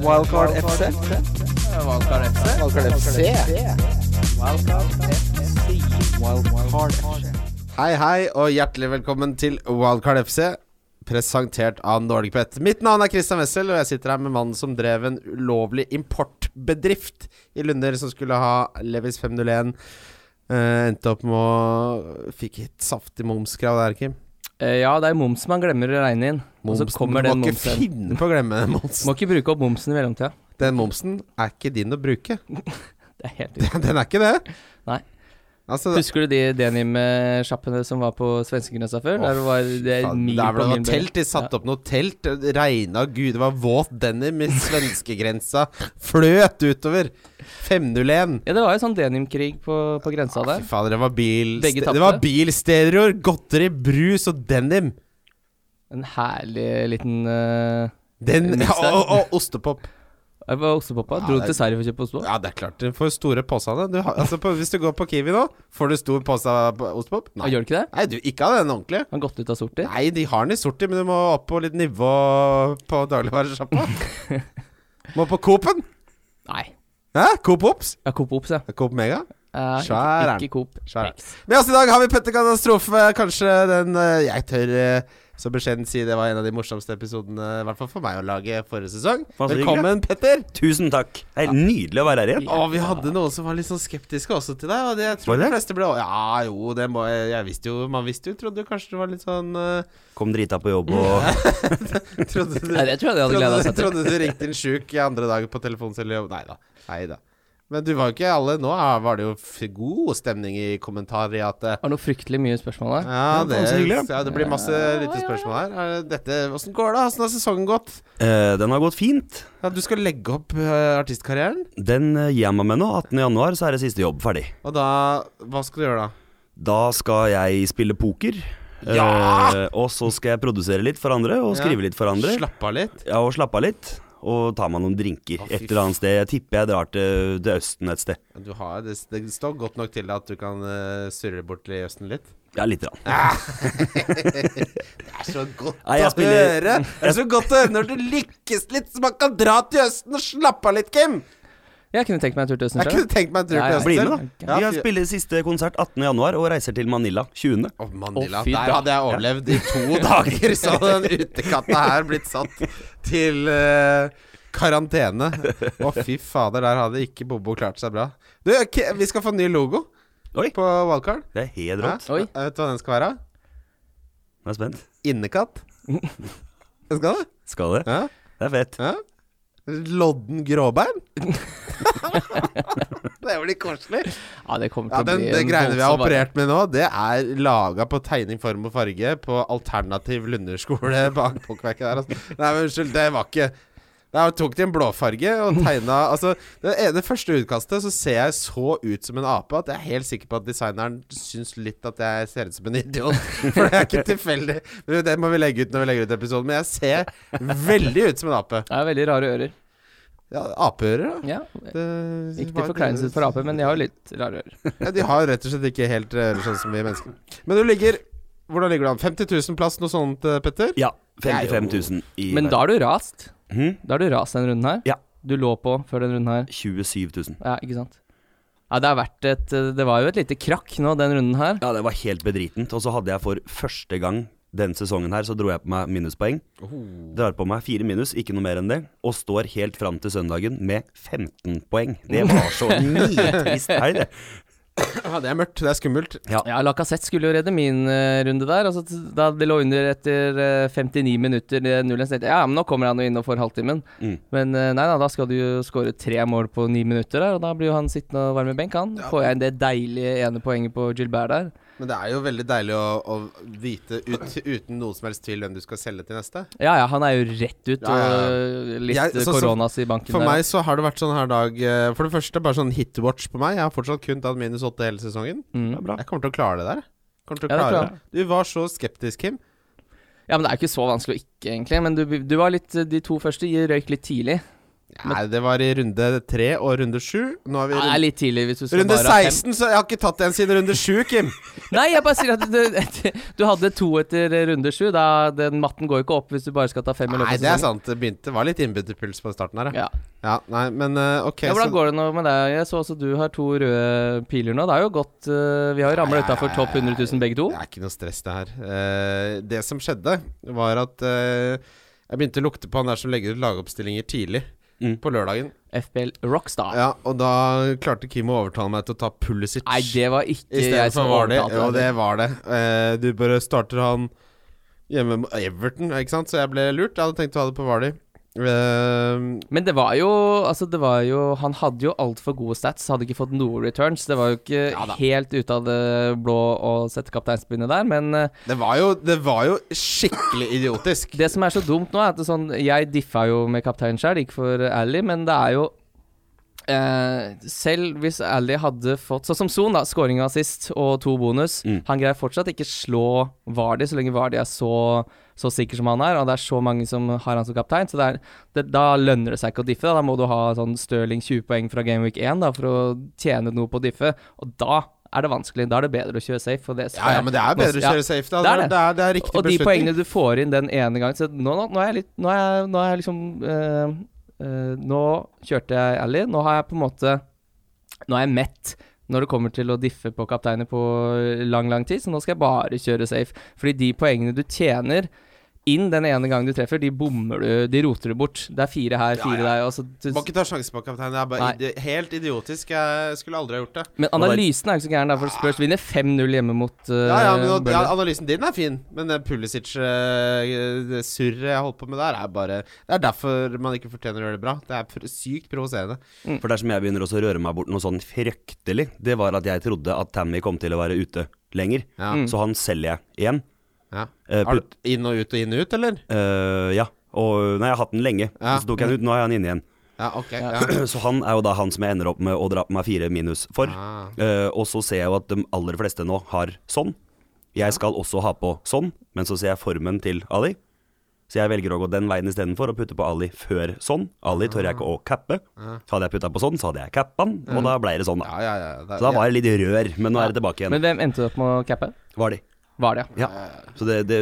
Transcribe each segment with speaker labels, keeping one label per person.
Speaker 1: Wildcard FC.
Speaker 2: Valkar FC.
Speaker 1: Wildcard FC. Wildcard FC.
Speaker 3: Hei, hei, og hjertelig velkommen til Wildcard FC, presentert av Norgepet. Mitt navn er Christian Wessel, og jeg sitter her med mannen som drev en ulovlig importbedrift i Lunder, som skulle ha Levis 501. Eh, endte opp med å Fikk et saftig momskrav der, Kim.
Speaker 2: Eh, Ja, det er moms man glemmer å regne inn. Og så
Speaker 3: Momsen-
Speaker 2: kommer
Speaker 3: du
Speaker 2: den
Speaker 3: må ikke
Speaker 2: momsen.
Speaker 3: finne på å glemme den momsen.
Speaker 2: Må ikke bruke opp momsen i mellomtida.
Speaker 3: Den momsen er ikke din å bruke.
Speaker 2: Det er helt ut.
Speaker 3: Den er ikke det.
Speaker 2: Nei.
Speaker 3: Altså,
Speaker 2: Husker du de denim-sjappene som var på svenskegrensa før? Der var det
Speaker 3: Faen,
Speaker 2: mil
Speaker 3: Der
Speaker 2: på
Speaker 3: var det
Speaker 2: min
Speaker 3: noe telt. De satte opp noe telt. Det regna gud, det var våt denim i svenskegrensa. Fløt utover. 501.
Speaker 2: Ja, det var jo sånn denimkrig på, på grensa
Speaker 3: Fy
Speaker 2: der.
Speaker 3: fader, det var bil
Speaker 2: Begge
Speaker 3: Det var
Speaker 2: tapte.
Speaker 3: bilstereoer, godteri, brus og denim.
Speaker 2: En herlig liten eh,
Speaker 3: Den,
Speaker 2: Mix
Speaker 3: ja,
Speaker 2: der.
Speaker 3: og, og ostepop.
Speaker 2: Jeg var ostepoppa.
Speaker 3: Ja,
Speaker 2: Dro
Speaker 3: det-
Speaker 2: til Sverige for å kjøpe ostepop.
Speaker 3: Ja, det er klart. Du får store posene. Du har, altså, på, hvis du går på Kiwi nå, får du stor pose av ostepop?
Speaker 2: Ja,
Speaker 3: Nei.
Speaker 2: Gjør det ikke det?
Speaker 3: Nei, du, ikke av den ordentlige.
Speaker 2: Han gått ut av sorter?
Speaker 3: Nei, de har den i sorti, men du må opp på litt nivå på dagligvaresjappa. må på Coop-en.
Speaker 2: Nei.
Speaker 3: Hæ? Coop Ops?
Speaker 2: Ja, Coop Ops, ja.
Speaker 3: Coop Mega?
Speaker 2: Eh, ikke-
Speaker 3: Svær er den.
Speaker 2: Ikke Coop.
Speaker 3: Svær er den.
Speaker 2: X.
Speaker 3: Med oss i dag har vi Petter Katastrofe. Kanskje den eh, Jeg tør eh, så beskjeden si det var en av de morsomste episodene, i hvert fall for meg, å lage forrige sesong.
Speaker 4: Faen, så
Speaker 3: Velkommen, Petter.
Speaker 4: Tusen takk. Det er helt nydelig å være her igjen.
Speaker 3: Å, vi hadde noen som var litt sånn skeptiske også til deg, og det jeg
Speaker 4: Var
Speaker 3: tror
Speaker 4: det?
Speaker 3: de fleste ble Ja, jo, det må jeg Jeg visste jo Man visste jo, trodde jo kanskje du var litt sånn eh,
Speaker 4: Kom drita på jobb og
Speaker 3: Trodde du
Speaker 2: Nei, det tror jeg de hadde gleda
Speaker 3: Trodde,
Speaker 2: seg til.
Speaker 3: trodde du ringte inn sjuk i andre dag på telefonselskapet? Nei da. Nei da. Men du var jo ikke alle Nå er- var det jo f- god stemning i kommentariatet.
Speaker 2: Var noe fryktelig mye spørsmål der.
Speaker 3: Ja,
Speaker 4: det var så
Speaker 3: det,
Speaker 4: hyggelig.
Speaker 3: ja, det blir masse lyttespørsmål her. Er det Dette, Åssen går det? Åssen har sesongen gått?
Speaker 4: Eh, Den har gått fint.
Speaker 3: Ja, du skal legge opp eh, artistkarrieren,
Speaker 4: Den eh, gir jeg meg med nå. 18. januar så er det siste jobb ferdig.
Speaker 3: og da Hva skal du gjøre da?
Speaker 4: Da skal jeg spille poker.
Speaker 3: Ja!
Speaker 4: Eh, Og så skal jeg produsere litt for andre, og
Speaker 3: Ja.
Speaker 4: skrive litt for andre.
Speaker 3: Slappe av litt?
Speaker 4: Ja, og slappe av litt. Og ta meg noen drinker
Speaker 3: Å, fy
Speaker 4: et eller annet sted. Jeg tipper jeg drar til, til Østen et sted.
Speaker 3: Ja, Du har, det, det står godt nok til at du kan eh, surre bort til Østen litt.
Speaker 4: Ja, lite grann.
Speaker 3: Det er så godt
Speaker 4: Nei, jeg
Speaker 3: å
Speaker 4: spiller-
Speaker 3: høre! Det er så godt å høre når du lykkes litt, så man kan dra til Østen og slappe av litt, Kim!
Speaker 2: Jeg kunne tenkt meg en tur til Østen
Speaker 3: Jeg
Speaker 2: sjøl.
Speaker 3: kunne tenkt meg en tur
Speaker 2: Ja,
Speaker 3: til
Speaker 2: ja.
Speaker 3: Østen.
Speaker 4: Bli med, da.
Speaker 3: Ja,
Speaker 4: Vi har
Speaker 3: fy-
Speaker 4: spiller siste konsert 18. januar og reiser til Manila 20.
Speaker 3: Å, Manila.
Speaker 2: Å, fy
Speaker 3: der
Speaker 2: da.
Speaker 3: hadde jeg overlevd i to dager, så hadde den utekatta her blitt satt til eh, karantene. Å, fy fader, der hadde ikke Bobo klart seg bra. Du, Ke- vi skal få en ny logo
Speaker 4: Oi.
Speaker 3: på Wildcard.
Speaker 4: Det er helt rått.
Speaker 3: Ja,
Speaker 2: Oi.
Speaker 3: Vet du hva den skal være?
Speaker 4: Jeg er spent.
Speaker 3: Innekatt. Den skal det?
Speaker 4: Skal det?
Speaker 3: Ja.
Speaker 4: Det er fett.
Speaker 3: ja. Lodden gråbein? det blir koselig.
Speaker 2: Ja, det kommer til
Speaker 3: Ja,
Speaker 2: å
Speaker 3: den,
Speaker 2: bli
Speaker 3: det
Speaker 2: en
Speaker 3: greiene vi har
Speaker 2: voldsom vare.
Speaker 3: operert med nå, det er laga på tegning, form og farge på alternativ lunderskole bak pokkerverket der. Altså. Nei, men unnskyld, det var ikke Nei, Jeg tok til en blåfarge og tegna Altså, det, ene- det første utkastet så ser jeg så ut som en ape at jeg er helt sikker på at designeren syns litt at jeg ser ut som en idiot. For det er ikke tilfeldig. Men Det må vi legge ut når vi legger ut episoden. Men jeg ser veldig ut som en ape.
Speaker 2: Det er veldig rare ører.
Speaker 3: Ja, Apeører, da.
Speaker 2: Ja,
Speaker 3: Det-
Speaker 2: Ikke til forkleinelse for aper, men jeg har jo litt rare ører.
Speaker 3: Ja, de har rett og slett ikke helt ører sånn som vi mennesker. Men du ligger Hvordan ligger du an? 50 000 plass, noe sånt, eh, Petter?
Speaker 4: Ja.
Speaker 3: Det er jo-
Speaker 4: 55 000 i
Speaker 2: Men da har du rast.
Speaker 4: Mhm.
Speaker 2: Da har du rast denne runden her.
Speaker 4: Ja.
Speaker 2: Du lå på før denne runden her.
Speaker 4: 27 000.
Speaker 2: Ja, ikke sant. Ja, det har vært et Det var jo et lite krakk nå, den runden her.
Speaker 4: Ja, det var helt bedritent. Og så hadde jeg for første gang den sesongen her, så dro jeg på meg minuspoeng. Drar på meg fire minus, ikke noe mer enn det. Og står helt fram til søndagen med 15 poeng. Det var så nitrist helg, det.
Speaker 3: Ja, det er mørkt. Det er skummelt.
Speaker 2: Ja, Lacassette skulle jo redde min eh, runde der. Altså, t- da det lå under etter eh, 59 minutter eh, 0-1, så tenkte jeg ja, men nå kommer han jo inn og får halvtimen.
Speaker 4: Mm.
Speaker 2: Men eh, nei da, da skal du jo skåre tre mål på ni minutter der, og da blir jo han sittende og varme benk, han. Får jeg inn det deilige ene poenget på Gilbert der.
Speaker 3: Men det er jo veldig deilig å, å vite ut, uten noen som helst tvil hvem du skal selge til neste.
Speaker 2: Ja ja, han er jo rett ut,
Speaker 3: Ja, ja,
Speaker 2: og eh, litt
Speaker 3: Jeg- så- så-
Speaker 2: koronas i banken
Speaker 3: For
Speaker 2: der.
Speaker 3: meg så har det vært sånn her dag eh, For det første, bare sånn hitwatch på meg. Jeg har fortsatt kun tatt minus åtte hele sesongen.
Speaker 2: Mm.
Speaker 4: Det er bra.
Speaker 3: Jeg kommer til å klare det der. Kommer til å
Speaker 2: Ja, det
Speaker 3: klare
Speaker 2: klarer
Speaker 3: det. Du var så skeptisk, Kim.
Speaker 2: Ja, men det er jo ikke så vanskelig å ikke, egentlig. Men du, du var litt De to første røyk litt tidlig.
Speaker 3: Nei, det var i runde tre og runde sju. Nå er vi i
Speaker 2: Ja, Det er
Speaker 3: runde,
Speaker 2: litt tidlig hvis du skal
Speaker 3: runde
Speaker 2: bare ha fem.
Speaker 3: 16, så jeg har ikke tatt en siden runde sju, Kim.
Speaker 2: Nei, jeg bare sier at du, du hadde to etter runde sju. Da den matten går jo ikke opp hvis du bare skal ta fem i løpet
Speaker 3: Nei,
Speaker 2: av
Speaker 3: det er
Speaker 2: sesongen.
Speaker 3: sant. Det begynte, var litt innbytterpuls på starten her, ja.
Speaker 2: Ja.
Speaker 3: ja nei, men eh, ok,
Speaker 2: ja,
Speaker 3: så-
Speaker 2: Hvordan går det nå med deg? Jeg så også du har to røde piler nå. Det er jo godt eh, Vi har jo ramla
Speaker 3: Ja, ja,
Speaker 2: utafor
Speaker 3: ja,
Speaker 2: topp 100 000 begge to.
Speaker 3: Det er ikke noe stress, det her. Eh, det som skjedde, var at eh, jeg begynte å lukte på han der som legger ut lagoppstillinger tidlig
Speaker 4: Mm.
Speaker 3: på lørdagen.
Speaker 2: FPL Rockstar.
Speaker 3: Ja, Og da klarte Kim å overtale meg til å ta Pulisic.
Speaker 2: Nei, det var
Speaker 3: I
Speaker 2: ikke
Speaker 3: stedet
Speaker 2: jeg som
Speaker 3: for var det.
Speaker 2: overtalte
Speaker 3: Jo, det
Speaker 2: deg.
Speaker 3: var det. Eh, du bare starter han hjemme mot Everton, ikke sant? Så jeg ble lurt. Jeg hadde tenkt å ha det på Vardy. Eh,
Speaker 2: Men det var jo Altså, det var jo Han hadde jo altfor gode stats. Hadde ikke fått noe returns. Det var jo ikke
Speaker 3: Ja da.
Speaker 2: helt ute av det blå å sette kapteinspinnet der, men eh,
Speaker 3: det, var jo, det var jo skikkelig idiotisk.
Speaker 2: Det som er så dumt nå, er at det er sånn Jeg diffa jo med kapteinen sjøl, gikk for Ally, men det er jo eh, selv hvis Ally hadde fått Sånn som Son, da. Scoring og assist og to bonus.
Speaker 4: Mm.
Speaker 2: Han greier fortsatt ikke slå Vardy så lenge Vardy er så, så sikker som han er. Og det er så mange som har han som kaptein, så det er, det, da lønner det seg ikke å diffe. Da, da må du ha sånn Stirling 20 poeng fra Game Week 1 da, for å tjene noe på å diffe. Og da er det vanskelig. Da er det bedre å kjøre safe. Og det
Speaker 3: Ja, ja, men det er bedre å
Speaker 2: Ja.
Speaker 3: kjøre safe, da.
Speaker 2: Det er
Speaker 3: Det er,
Speaker 2: det.
Speaker 3: det er, det er
Speaker 2: Og
Speaker 3: riktig
Speaker 2: de
Speaker 3: beslutning.
Speaker 2: poengene du får inn den ene gangen Så nå, nå, nå er jeg litt Nå er jeg, nå er jeg liksom eh, eh, Nå kjørte jeg Ally. Nå har jeg på en måte Nå er jeg mett når det kommer til å diffe på kapteiner på lang, lang tid, så nå skal jeg bare kjøre safe. Fordi de poengene du tjener inn den ene gangen du treffer, de bommer du De roter du bort. Det er fire her, fire der. altså, Og så,
Speaker 3: Må ikke ta sjansen på kaptein. Det er bare
Speaker 2: Nei.
Speaker 3: idi helt idiotisk. Jeg skulle aldri ha gjort det.
Speaker 2: men analysen er jo ikke så gæren, da, for Spurs vinner 5-0 hjemme mot eh,
Speaker 3: Ja, ja, men nå, ja, altså-
Speaker 2: Burnley.
Speaker 3: Analysen din er fin, men det Pulisic-surret jeg holdt på med der, er bare Det er derfor man ikke fortjener å gjøre det bra. Det er pr- sykt provoserende.
Speaker 4: For dersom jeg begynner også å røre meg bort noe sånn fryktelig, det var at jeg trodde at Tammy kom til å være ute lenger.
Speaker 3: Ja.
Speaker 4: Så han selger jeg igjen.
Speaker 3: Ja.
Speaker 4: Eh,
Speaker 3: Har
Speaker 4: put-
Speaker 3: du inn og ut og inn og ut, eller?
Speaker 4: Eh, ja. Og nei, jeg har hatt den lenge.
Speaker 3: Ja.
Speaker 4: Så tok jeg den ut, nå er han inne igjen.
Speaker 3: Ja, ok. Ja.
Speaker 4: Så han er jo da han som jeg ender opp med å dra på meg fire minus for.
Speaker 3: Ah.
Speaker 4: Eh, og så ser jeg jo at de aller fleste nå har sånn. Jeg skal også ha på sånn, men så ser jeg formen til Ali. Så jeg velger å gå den veien istedenfor og putte på Ali før sånn. Ali tør jeg ikke å cappe. Så hadde jeg putta på sånn, så hadde jeg cappa han, og da ble det sånn, da.
Speaker 3: Ja, ja, ja. Det,
Speaker 4: Så da var jeg litt rør, men nå er det tilbake igjen.
Speaker 2: Men hvem endte opp med å cappe?
Speaker 4: Var de.
Speaker 2: Var det, ja.
Speaker 4: Ja. Så det, det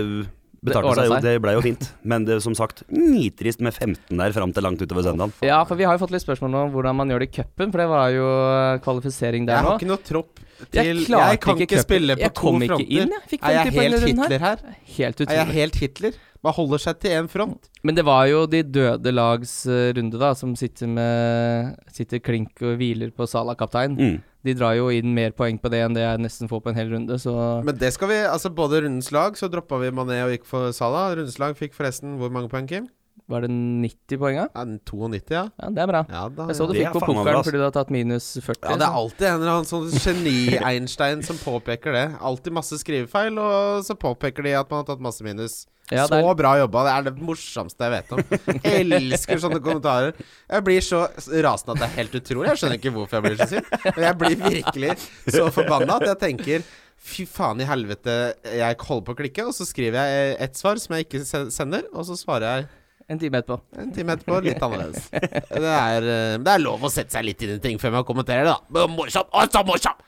Speaker 4: betalte
Speaker 2: ordnet
Speaker 4: seg jo,
Speaker 2: seg.
Speaker 4: det ble jo fint. Men det, som sagt, nitrist med 15 der fram til langt utover søndagen.
Speaker 2: Ja, for vi har jo fått litt spørsmål om hvordan man gjør det i cupen, for det var jo eh, kvalifisering
Speaker 3: jeg
Speaker 2: der nå.
Speaker 3: har ikke noe tropp til
Speaker 2: Jeg klarte
Speaker 3: kan
Speaker 2: ikke
Speaker 3: ikke
Speaker 2: cupen.
Speaker 3: spille på
Speaker 2: Jeg kom
Speaker 3: to
Speaker 2: ikke
Speaker 3: fronter.
Speaker 2: inn, jeg. Fikk 50
Speaker 3: er jeg
Speaker 2: på hele
Speaker 3: helt
Speaker 2: runden her.
Speaker 3: Hitler her?
Speaker 2: Helt
Speaker 3: Er jeg
Speaker 2: utrolig.
Speaker 3: helt Hitler? Bare holder seg til én front.
Speaker 2: Men det var jo de døde lags eh, runde, da, som sitter med Sitter klink og hviler på Salah kaptein.
Speaker 4: Mm.
Speaker 2: De drar jo inn mer poeng på det enn det jeg nesten får på en hel runde, så
Speaker 3: Men det skal vi Altså, både rundens lag, så droppa vi Mané og gikk for Salah. Rundens lag fikk forresten hvor mange poeng, Kim?
Speaker 2: var det 90 poeng, ja?
Speaker 3: Ja, 92, ja.
Speaker 2: Ja, det er bra.
Speaker 3: Ja, da,
Speaker 2: Jeg så du
Speaker 4: Det er
Speaker 2: fikk på
Speaker 4: faen meg bra,
Speaker 2: pokeren
Speaker 4: ass.
Speaker 2: fordi du har tatt minus liksom. 40.
Speaker 3: Ja, det er alltid en eller annen sånn geni-Einstein som påpeker det. Alltid masse skrivefeil, og så påpeker de at man har tatt masse minus.
Speaker 2: Ja,
Speaker 3: så
Speaker 2: det er-
Speaker 3: bra jobba. Det er det morsomste jeg vet om. Elsker sånne kommentarer. Jeg blir så rasende at det er helt utrolig. Jeg skjønner ikke hvorfor jeg blir så sint. Men jeg blir virkelig så forbanna at jeg tenker Fy faen i helvete, jeg holder på å klikke, og så skriver jeg et svar som jeg ikke se- sender, og så svarer jeg
Speaker 2: En time etterpå.
Speaker 3: en time etterpå, litt annerledes. Det er, eh, det er lov å sette seg litt inn i ting før man kommenterer, da. Men Morsomt! Å, så morsomt!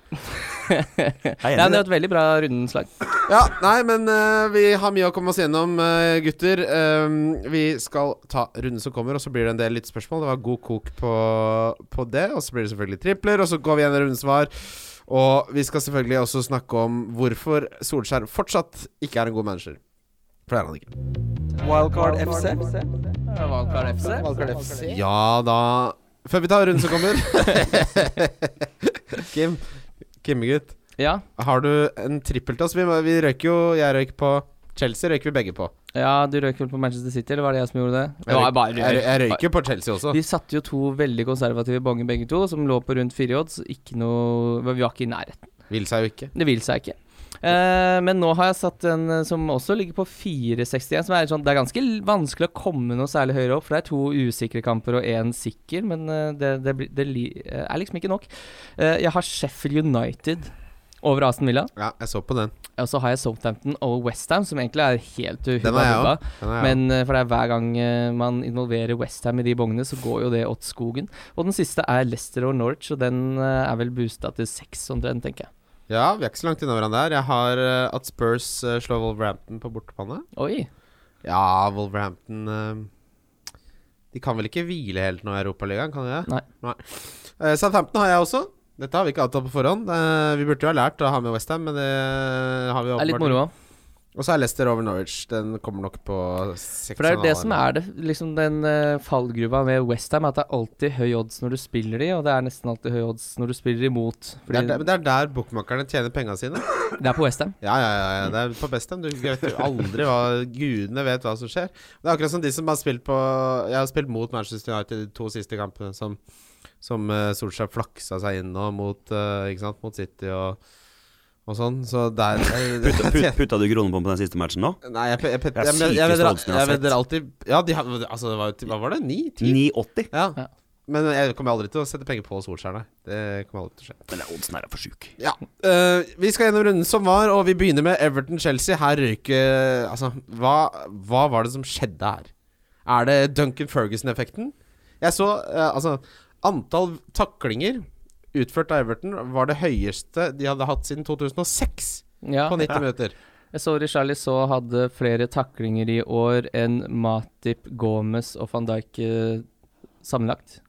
Speaker 4: Jeg er
Speaker 2: Ja,
Speaker 4: enig i det.
Speaker 2: det var et veldig bra rundenslag.
Speaker 3: Ja, nei, men eh, vi har mye å komme oss gjennom, eh, gutter. Eh, vi skal ta runden som kommer, og så blir det en del lyttespørsmål. Det var god kok på, på det. Og så blir det selvfølgelig tripler, og så går vi gjennom rundens svar. Og vi skal selvfølgelig også snakke om hvorfor Solskjær fortsatt ikke er en god manager. For det er han ikke.
Speaker 1: Wildcard FC.
Speaker 2: Valgkar FC.
Speaker 3: Ja da Før vi tar runden som kommer Kim, Kimmegutt,
Speaker 2: Ja.
Speaker 3: har du en trippel til oss? Vi, må- vi røyker jo Jeg røyk på Chelsea, røyker vi begge på.
Speaker 2: Ja, du røyk vel på Manchester City, eller var det jeg som gjorde det? Det
Speaker 3: Jeg
Speaker 2: var
Speaker 3: røyk-
Speaker 2: bare
Speaker 3: jeg, jeg røyker på Chelsea også.
Speaker 2: Vi satte jo to veldig konservative bonger begge to, som lå på rundt fire i odds. Ikke noe Vi var ikke i nærheten.
Speaker 3: Vil seg jo ikke.
Speaker 2: Det vil seg ikke. Eh, men nå har jeg satt en eh, som også ligger på 4,61, som er sånn Det er ganske l- vanskelig å komme noe særlig høyere opp, for det er to usikre kamper og én sikker, men eh, det, det, blir- det li- eh, er liksom ikke nok. Eh, jeg har Sheffield United over Aston Villa.
Speaker 3: Ja, jeg så på den.
Speaker 2: Og så har jeg Southampton over Westham, som egentlig er helt uh,
Speaker 3: Den har jeg
Speaker 2: hubba-bubba.
Speaker 3: òg. Den har jeg
Speaker 2: Men eh, for det er hver gang eh, man involverer Westham i de bongene, så går jo det åt skogen. Og den siste er Leicester og Norwich, og den eh, er vel boosta til seks omtrent, tenker jeg.
Speaker 3: også. ja, vi er ikke så langt unna hverandre her. Jeg har eh, at Spurs eh, slår Wolverhampton på bortebane.
Speaker 2: Oi.
Speaker 3: Ja, Wolverhampton eh, De kan vel ikke hvile helt nå i Europaligaen, kan de det?
Speaker 2: Nei.
Speaker 3: Eh, Southampton har jeg også. Dette har vi ikke avtalt på forhånd. Eh, vi burde jo ha lært å ha med Westham, men det eh, har vi
Speaker 2: Det
Speaker 3: jo
Speaker 2: er litt
Speaker 3: åpenbart
Speaker 2: moro.
Speaker 3: Og så er Leicester over Norwich. Den kommer nok på seks
Speaker 2: For det er
Speaker 3: og
Speaker 2: jo
Speaker 3: en
Speaker 2: det
Speaker 3: halv
Speaker 2: som
Speaker 3: eller
Speaker 2: er det, liksom den eh, fallgruva med Westham, at det er alltid høy odds når du spiller de, og det er nesten alltid høy odds når du spiller imot.
Speaker 3: noe. det
Speaker 2: Fordi
Speaker 3: er, der, men det er der bookmakerne tjener penga sine.
Speaker 2: det er på Westham.
Speaker 3: Ja, ja, ja, ja. Det er på Bestem. Du vet jo aldri hva Gudene vet hva som skjer. Det er akkurat som de som har spilt på Jeg har spilt mot Manchester United de to siste kampene, som, som eh, Solskjær flaksa seg inn nå mot, eh, ikke sant, mot City og, og sånn. Så der
Speaker 4: Putta, put, putta du kroner på på den siste matchen nå?
Speaker 3: Nei, jeg, jeg, jeg,
Speaker 4: er
Speaker 3: jeg, jeg, jeg,
Speaker 4: sykeste
Speaker 3: vedder-
Speaker 4: oddsen jeg har
Speaker 3: jeg vedder alltid Ja, de, har- altså, det var, jo- hva var det? Ni? Ti?
Speaker 4: 9,80.
Speaker 3: Ja.
Speaker 2: Ja.
Speaker 3: Men jeg kommer aldri til å sette penger på Solskjær, nei. Det kommer aldri til å skje.
Speaker 4: Den der oddsen her er for sjuk.
Speaker 3: Ja. eh, vi skal gjennom runden som var, og vi begynner med Everton-Chelsea. Her røyker Altså, hva, hva var det som skjedde her? Er det Duncan Ferguson-effekten? Jeg så eh, Altså, antall taklinger utført av Everton var det høyeste de hadde hatt siden 2006
Speaker 2: Ja.
Speaker 3: på 90 minutter.
Speaker 2: Jeg så Richarlie så hadde flere taklinger i år enn Matip, Gomez og van Dijk eh, sammenlagt.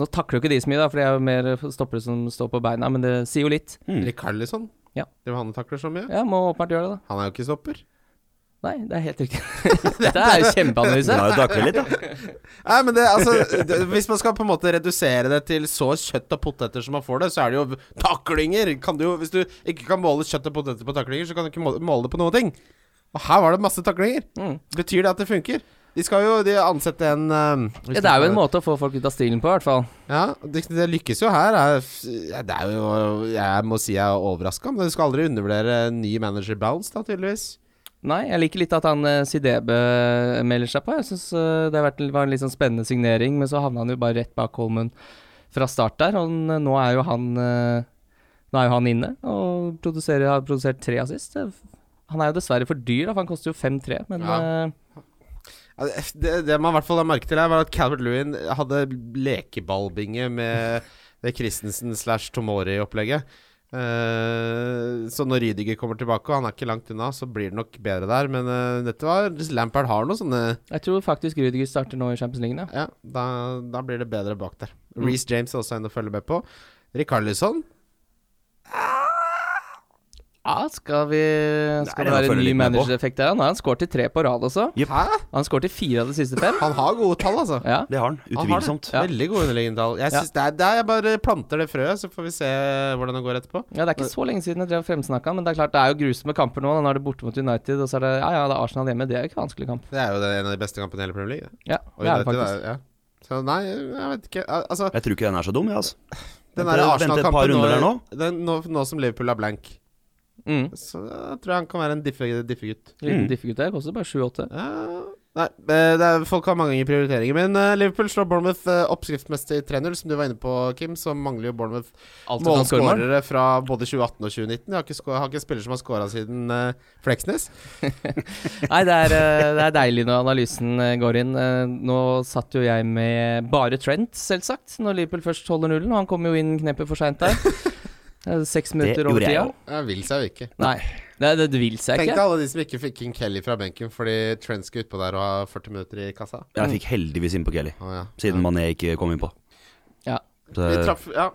Speaker 2: Nå takler jo ikke de så mye, da, for det er jo mer stoppere som står på beina, men det sier jo litt.
Speaker 4: Mm.
Speaker 3: Rikarlison?
Speaker 2: Ja.
Speaker 3: Det var han som takler så mye?
Speaker 2: Ja, må åpenbart gjøre det, da.
Speaker 3: Han er jo ikke stopper.
Speaker 2: Nei, det er helt riktig. Dette er jo
Speaker 4: Den
Speaker 2: kjempeanalyse.
Speaker 4: har jo taklet litt, da.
Speaker 3: Nei, men det, altså det, Hvis man skal på en måte redusere det til så kjøtt og poteter som man får det, så er det jo taklinger! Kan du, jo- hvis du ikke kan måle kjøtt og poteter på taklinger, så kan du ikke måle, måle det på noen ting. Og her var det masse taklinger.
Speaker 2: Mm.
Speaker 3: Betyr det at det funker? De skal jo de ansette en eh,
Speaker 2: Ja, det er jo en måte å få folk ut av stilen på, i hvert fall.
Speaker 3: Ja, det, det lykkes jo her. Er, ja, det er jo Jeg må si jeg er overraska, men du skal aldri undervurdere ny manager bounce, da, tydeligvis.
Speaker 2: Nei, jeg liker litt at han eh, Sidebe eh, melder seg på. Jeg syns det har vært, var en litt sånn spennende signering, men så havna han jo bare rett bak Holmen fra start der. Og han, eh, nå er jo han eh, Nå er jo han inne og produserer, har produsert tre assist. Det- Han er jo dessverre for dyr, da, for han koster jo 5-3, men
Speaker 3: Ja.
Speaker 2: eh,
Speaker 3: Ja, Det, det- det man i hvert fall la merke til her, var at Calvert Lewin hadde lekeballbinge med det Christensen slash Tomori-opplegget. Eh, så når Rydiger kommer tilbake, og han er ikke langt unna, så blir det nok bedre der. Men eh, dette var Lampard har noe sånne
Speaker 2: jeg tror faktisk Rudiger starter nå i Champions League. Ja. Mm.
Speaker 3: Ja, da, da blir det bedre bak der. Reece James er også en å følge med på. Rikarlison
Speaker 2: Ja, skal vi
Speaker 4: Nei,
Speaker 2: Skal det
Speaker 4: jeg
Speaker 2: være en
Speaker 4: følger
Speaker 2: ny
Speaker 4: litt med på.
Speaker 2: managereffekt der? Nå har han skåret til tre på rad også.
Speaker 4: Jepp.
Speaker 3: Hæ?
Speaker 2: Han skåret til fire av de siste fem.
Speaker 3: Han har gode tall, altså.
Speaker 2: Ja.
Speaker 4: Det har han.
Speaker 3: Han har det.
Speaker 4: Utvilsomt.
Speaker 2: Ja.
Speaker 3: Veldig gode underliggende tall. Jeg,
Speaker 2: Ja.
Speaker 3: synes det er, det er, jeg bare planter det frøet, så får vi se hvordan det går etterpå.
Speaker 2: Ja, Det er ikke så lenge siden jeg drev fremsnakka, men det er klart det er jo grusomme kamper nå. da. Nå er det borte mot United, og så er det ja, ja, det er Arsenal hjemme. Det er jo ikke vanskelig kamp.
Speaker 3: Det er jo det, en av de beste kampene i hele Premier League. det.
Speaker 2: Ja,
Speaker 3: Og
Speaker 2: det er det
Speaker 3: United
Speaker 2: faktisk.
Speaker 3: er- ja. Så nei, jeg vet ikke. Al- Altså,
Speaker 4: Jeg tror ikke den er så dum, jeg, altså.
Speaker 3: den
Speaker 4: Vent- vent
Speaker 3: der
Speaker 4: et par
Speaker 3: Arsenal-kampen
Speaker 4: runder der
Speaker 3: nå,
Speaker 4: nå.
Speaker 3: den- nå, nå som Liverpool er blank,
Speaker 2: Mm.
Speaker 3: så da tror jeg han kan være en diffe- diffegutt.
Speaker 2: Liten
Speaker 4: Mm.
Speaker 2: diffegutt der. Koster bare 7-8.
Speaker 3: Ja, nei, eh, det er, folk har mange prioriteringer. Men eh, Liverpool slår Bournemouth eh, oppskriftsmessig 3-0, som du var inne på, Kim. Så mangler jo Bournemouth
Speaker 2: Alt du kan score mål.
Speaker 3: målskårere fra både 2018 og 2019. Jeg har ikke, sko- har ikke en spiller som har skåra siden eh, Fleksnes.
Speaker 2: Nei, det er, eh, det er deilig når analysen eh, går inn. Eh, Nå satt jo jeg med bare Trent, selvsagt, når Liverpool først holder nullen. Og han kom jo inn kneppet for seint der. Eh, Seks minutter
Speaker 4: gjorde
Speaker 2: over
Speaker 4: jeg
Speaker 2: tida.
Speaker 4: jo.
Speaker 3: Jeg vil seg jo ikke.
Speaker 2: Nei, det, det vil seg
Speaker 3: Tenk deg
Speaker 2: ikke.
Speaker 3: alle de som ikke fikk inn Kelly fra benken fordi Trent skulle utpå der og ha 40 minutter i kassa.
Speaker 4: Jeg
Speaker 2: Mm.
Speaker 4: fikk heldigvis innpå Kelly,
Speaker 3: Å, ja.
Speaker 4: siden Mané ikke kom innpå.
Speaker 2: Ja.
Speaker 4: Så,
Speaker 3: Vi traff, ja,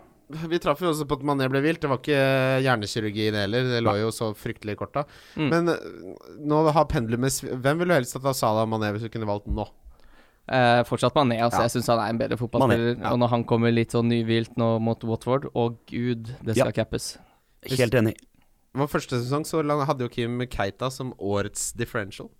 Speaker 3: vi traff jo også på at Mané ble vilt. Det var ikke eh, hjernekirurgi i det heller. Det lå jo så fryktelig kort da.
Speaker 2: Mm.
Speaker 3: Men øh, nå har pendulumet sv- Hvem ville du helst at Salah og Mané hvis du kunne valgt nå?
Speaker 2: Eh, fortsatt Mané. Altså,
Speaker 3: Ja.
Speaker 2: Jeg syns han er en bedre fotballspiller.
Speaker 3: Mané, ja.
Speaker 2: Og når han kommer litt sånn nyhvilt nå mot Watford, å gud, det
Speaker 4: Ja.
Speaker 2: skal cappes.
Speaker 4: eh, helt enig.
Speaker 3: Vår første sesong så la- hadde jo Kim Keita som årets differential.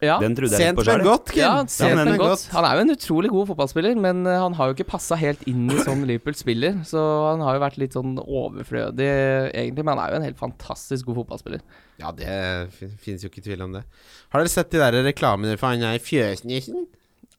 Speaker 2: Ja.
Speaker 4: Den trodde jeg litt
Speaker 3: Sent,
Speaker 4: på
Speaker 3: men
Speaker 4: sjøl.
Speaker 3: godt, Kim!
Speaker 2: Ja, han ser
Speaker 4: Ja, men-
Speaker 2: den godt. Han er jo en utrolig god fotballspiller, men eh, han har jo ikke passa helt inn i sånn Liverpool spiller. Så han har jo vært litt sånn overflødig, egentlig. Men han er jo en helt fantastisk god fotballspiller.
Speaker 3: Ja, det fin- finnes jo ikke tvil om det. Har dere sett de der reklamene for han her fjøsnissen?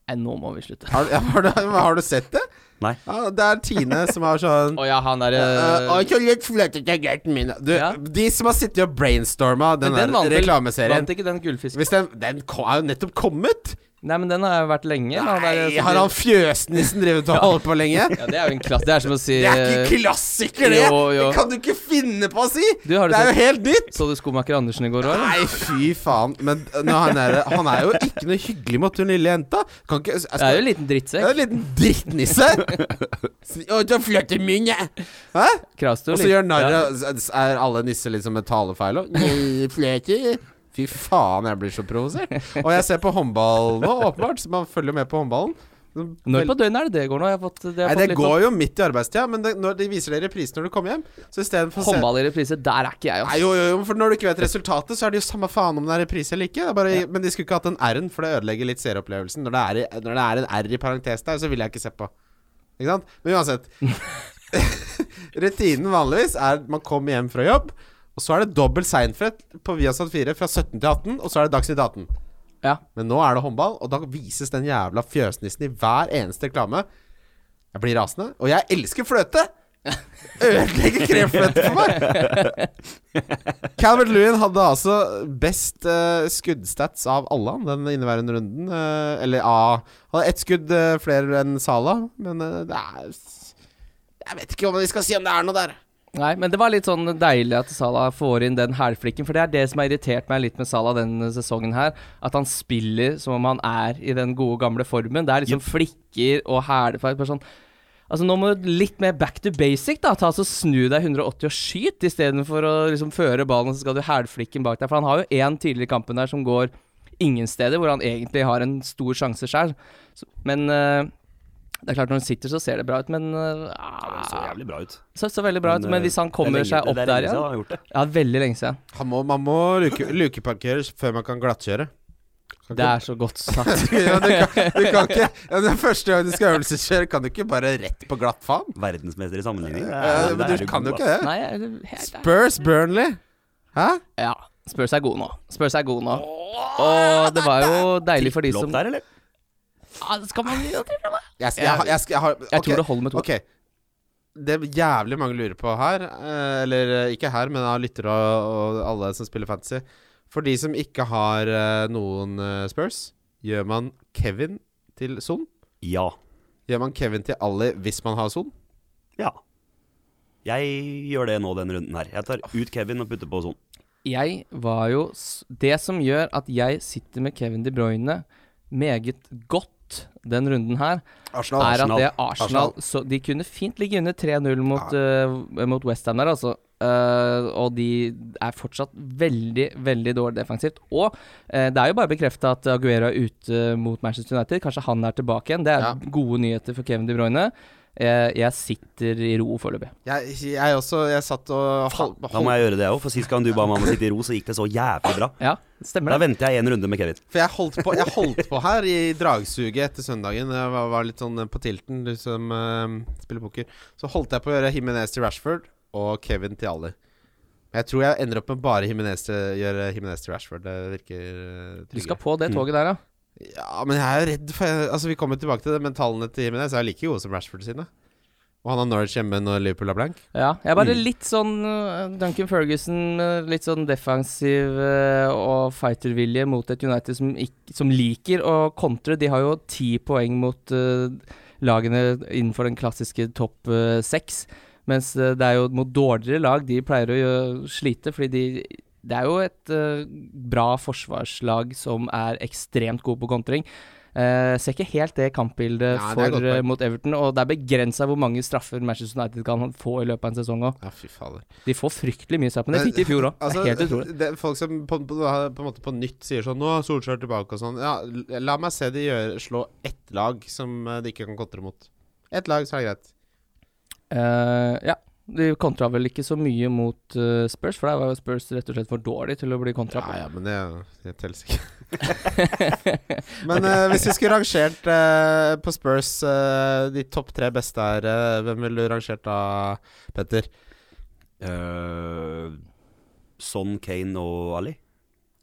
Speaker 2: Nei, nå må vi slutte.
Speaker 3: Har, du- ja, har, du, har du sett det?
Speaker 4: Nei.
Speaker 3: Ja, det er Tine som har sånn
Speaker 2: Å ja, han derre
Speaker 3: Eh, «Å, så litt fløtete gutten min». Du,
Speaker 2: Ja.
Speaker 3: De som har sittet og brainstorma den,
Speaker 2: Den vant
Speaker 3: der
Speaker 2: vel-
Speaker 3: reklameserien
Speaker 2: Vant ikke den gullfisken?
Speaker 3: Hvis den, den ko- er jo nettopp kommet!
Speaker 2: Nei, men den har jo vært lenge. da. Det er-
Speaker 3: Nei, har han fjøsnissen drevet og holdt på lenge?
Speaker 2: Ja, det er jo en klass. Det er som å si eh,
Speaker 3: Det er ikke klassiker, det!
Speaker 2: Jo, jo.
Speaker 3: Det kan du ikke finne på å si!
Speaker 2: Du, har sånn- du
Speaker 3: det er jo
Speaker 2: sett-
Speaker 3: helt nytt!
Speaker 2: Så du Skomaker Andersen i går òg, eller?
Speaker 3: Nei, fy faen. Men eh, nå, han, er, han er jo ikke noe hyggelig mot hun lille jenta. Kan ikke jeg skal-
Speaker 2: Det er jo en liten
Speaker 3: Jeg
Speaker 2: drittsekk.
Speaker 3: er en liten drittnisse. Si- Å, så fløt i munnen. Hæ?
Speaker 2: Kravstor.
Speaker 3: Og så gjør narr av Er alle nisser liksom med talefeil òg? Fy faen, jeg blir så provosert. Og jeg ser på håndball nå, åpenbart. Så man følger med på håndballen.
Speaker 2: Når på døgnet er det det går nå? Jeg har fått, det har
Speaker 3: Nei,
Speaker 2: fått
Speaker 3: det
Speaker 2: litt sånn-
Speaker 3: går jo midt i arbeidstida, men det, når de viser deg reprisen når du kommer hjem. Så istedenfor å
Speaker 2: sånn
Speaker 3: se
Speaker 2: Håndball i reprise, der er ikke jeg,
Speaker 3: Nei,
Speaker 2: altså.
Speaker 3: jo, jo, jo, for når du ikke vet resultatet, så er det jo samme faen om det er reprise eller ikke. Det er bare, Men de skulle ikke hatt den R-en, for det ødelegger litt seeropplevelsen. Når, det er i- når det er en R i parentes der, så vil jeg ikke se på. Ikke sant? Men uansett. Rutinen vanligvis er at man kommer hjem fra jobb, og så er det dobbel Seinfeld på Viasat 4 fra 17 til 18, og så er det Dagsnytt 18.
Speaker 2: Ja.
Speaker 3: Men nå er det håndball, og da vises den jævla fjøsnissen i hver eneste reklame. Jeg blir rasende. Og jeg elsker fløte! Ødelegger kremfløte for meg! Calvert Lewin hadde altså best eh, skuddstats av alle han den inneværende runden. eh, eller av Han hadde ett skudd eh, flere enn Sala, men eh, det er Jeg vet ikke om vi skal si om det er noe der.
Speaker 2: Nei, men det var litt sånn deilig at Salah får inn den hælflikken. For det er det som har irritert meg litt med Salah denne sesongen her. At han spiller som om han er i den gode, gamle formen. Det er liksom flikker og hælfeil. bare Sånn. Altså, nå må du litt mer back to basic, da. Ta altså, Snu deg 180 og skyt, istedenfor å liksom føre ballen, og så skal du hælflikken bak deg. For han har jo én tidligere i kampen der som går ingen steder, hvor han egentlig har en stor sjanse sjøl. Men eh, det er klart, når han sitter, så ser det bra ut, men eh,
Speaker 4: Det så jævlig bra ut.
Speaker 2: så, så veldig bra ut,
Speaker 4: eh,
Speaker 2: men hvis han kommer seg opp der
Speaker 4: igjen
Speaker 2: igjen Ja, veldig lenge siden.
Speaker 3: Han må, man må luke, lukeparkere før man kan glattkjøre. Kan
Speaker 2: Det
Speaker 3: ikke-
Speaker 2: er så godt sagt.
Speaker 3: ja, du, kan, du kan ikke ja, Den første gang du skal øvelseskjøre, kan du ikke bare rett på glatt faen?
Speaker 4: Verdensmester i sammenligning. Det
Speaker 3: Ja,
Speaker 4: er-
Speaker 3: men
Speaker 4: det er
Speaker 3: du
Speaker 4: jo
Speaker 3: kan
Speaker 4: god,
Speaker 3: jo ikke det.
Speaker 2: Nei, jeg- helt ærlig.
Speaker 3: Spurs Burnley. Hæ?
Speaker 2: Ja. Spør seg god nå. Spør seg god nå. Og det var jo deilig for de
Speaker 4: ass.
Speaker 2: som
Speaker 4: Lopp der, eller?
Speaker 2: Ja, Skal man
Speaker 3: Jeg, skal- jeg, har- jeg, skal- jeg, har-
Speaker 2: Jeg
Speaker 3: ok,
Speaker 2: tror det holder med to.
Speaker 3: Ok. Det er jævlig mange lurer på her, eh, eller eh, ikke her, men av lyttere og, og alle som spiller fantasy For de som ikke har eh, noen eh, Spurs, gjør man Kevin til Son?
Speaker 4: Ja.
Speaker 3: Gjør man Kevin til Ali hvis man har Son?
Speaker 4: Ja. Jeg gjør det nå denne runden her. Jeg tar ut Kevin og putter på sånn.
Speaker 2: Jeg var jo s- Det som gjør at jeg sitter med Kevin De Bruyne meget godt den runden her,
Speaker 3: Arsenal.
Speaker 2: er at
Speaker 4: Arsenal.
Speaker 2: det er Arsenal
Speaker 3: Arsenal.
Speaker 2: Så de kunne fint ligge under 3-0 mot, eh, mot Westham der, altså. Eh, og de er fortsatt veldig, veldig dårlig defensivt. Og eh, det er jo bare bekrefta at Aguero er ute mot Manchester United. Kanskje han er tilbake igjen. Det er
Speaker 3: Ja.
Speaker 2: gode nyheter for Kevin De Bruyne. Eh, jeg sitter i ro foreløpig.
Speaker 3: Jeg, jeg også Jeg satt og holdt,
Speaker 4: Da må jeg gjøre det òg, for sist gang du ba meg om å sitte i ro, så gikk det så jævlig bra.
Speaker 2: Ja,
Speaker 4: Da
Speaker 2: stemmer det.
Speaker 4: venter jeg en runde med Kevin.
Speaker 3: For jeg holdt, på, jeg holdt på her i dragsuget etter søndagen. Jeg var, var litt sånn eh, på tilten, du som eh, spiller poker. Så holdt jeg på å gjøre Himinez til Rashford og Kevin til Ali. Men jeg tror jeg ender opp med bare Himinez til, gjøre Himinez til Rashford. Det virker eh,
Speaker 2: Du skal
Speaker 3: tryggere.
Speaker 2: på det toget der, ja.
Speaker 3: Ja, men jeg er jo redd for Altså, vi kommer tilbake til det, men tallene til Himinez er like gode som Rashford sine. Og han har Norwich hjemme når Liverpool er blank.
Speaker 2: Ja, jeg er bare litt sånn øh, Duncan Ferguson, øh, litt sånn defensiv øh, og fightervilje mot et United som, ikk- som liker å kontre. De har jo ti poeng mot øh, lagene innenfor den klassiske topp øh, seks. Mens øh, det er jo mot dårligere lag de pleier å gjø- slite, fordi de Det er jo et øh, bra forsvarslag som er ekstremt god på kontring. Eh, ser ikke helt det kampbildet
Speaker 3: Nei, det er et
Speaker 2: for,
Speaker 3: godt
Speaker 2: øh,
Speaker 3: poeng.
Speaker 2: mot Everton, og det er begrensa hvor mange straffer Manchester United kan få i løpet av en sesong òg.
Speaker 3: Ja, fy fader.
Speaker 2: De får fryktelig mye straff, men det fikk de i fjor òg. det
Speaker 3: Altså,
Speaker 2: er helt utrolig.
Speaker 3: det er folk som på, på, på en måte på nytt sier sånn Nå er Solskjær tilbake og sånn. Ja, l- la meg se de gjøre, slå ett lag som eh, de ikke kan kontre mot. Ett lag, så er det greit.
Speaker 2: Eh, ja. De kontra vel ikke så mye mot eh, Spurs, for der var jo Spurs rett og slett for dårlig til å bli kontra
Speaker 3: Ja,
Speaker 2: på.
Speaker 3: ja, men det, det teller ikke. men eh, hvis vi skulle rangert eh, på Spurs eh, de topp tre beste her, eh, hvem ville du rangert da, Petter?
Speaker 4: Eh, Son, Kane og Ali.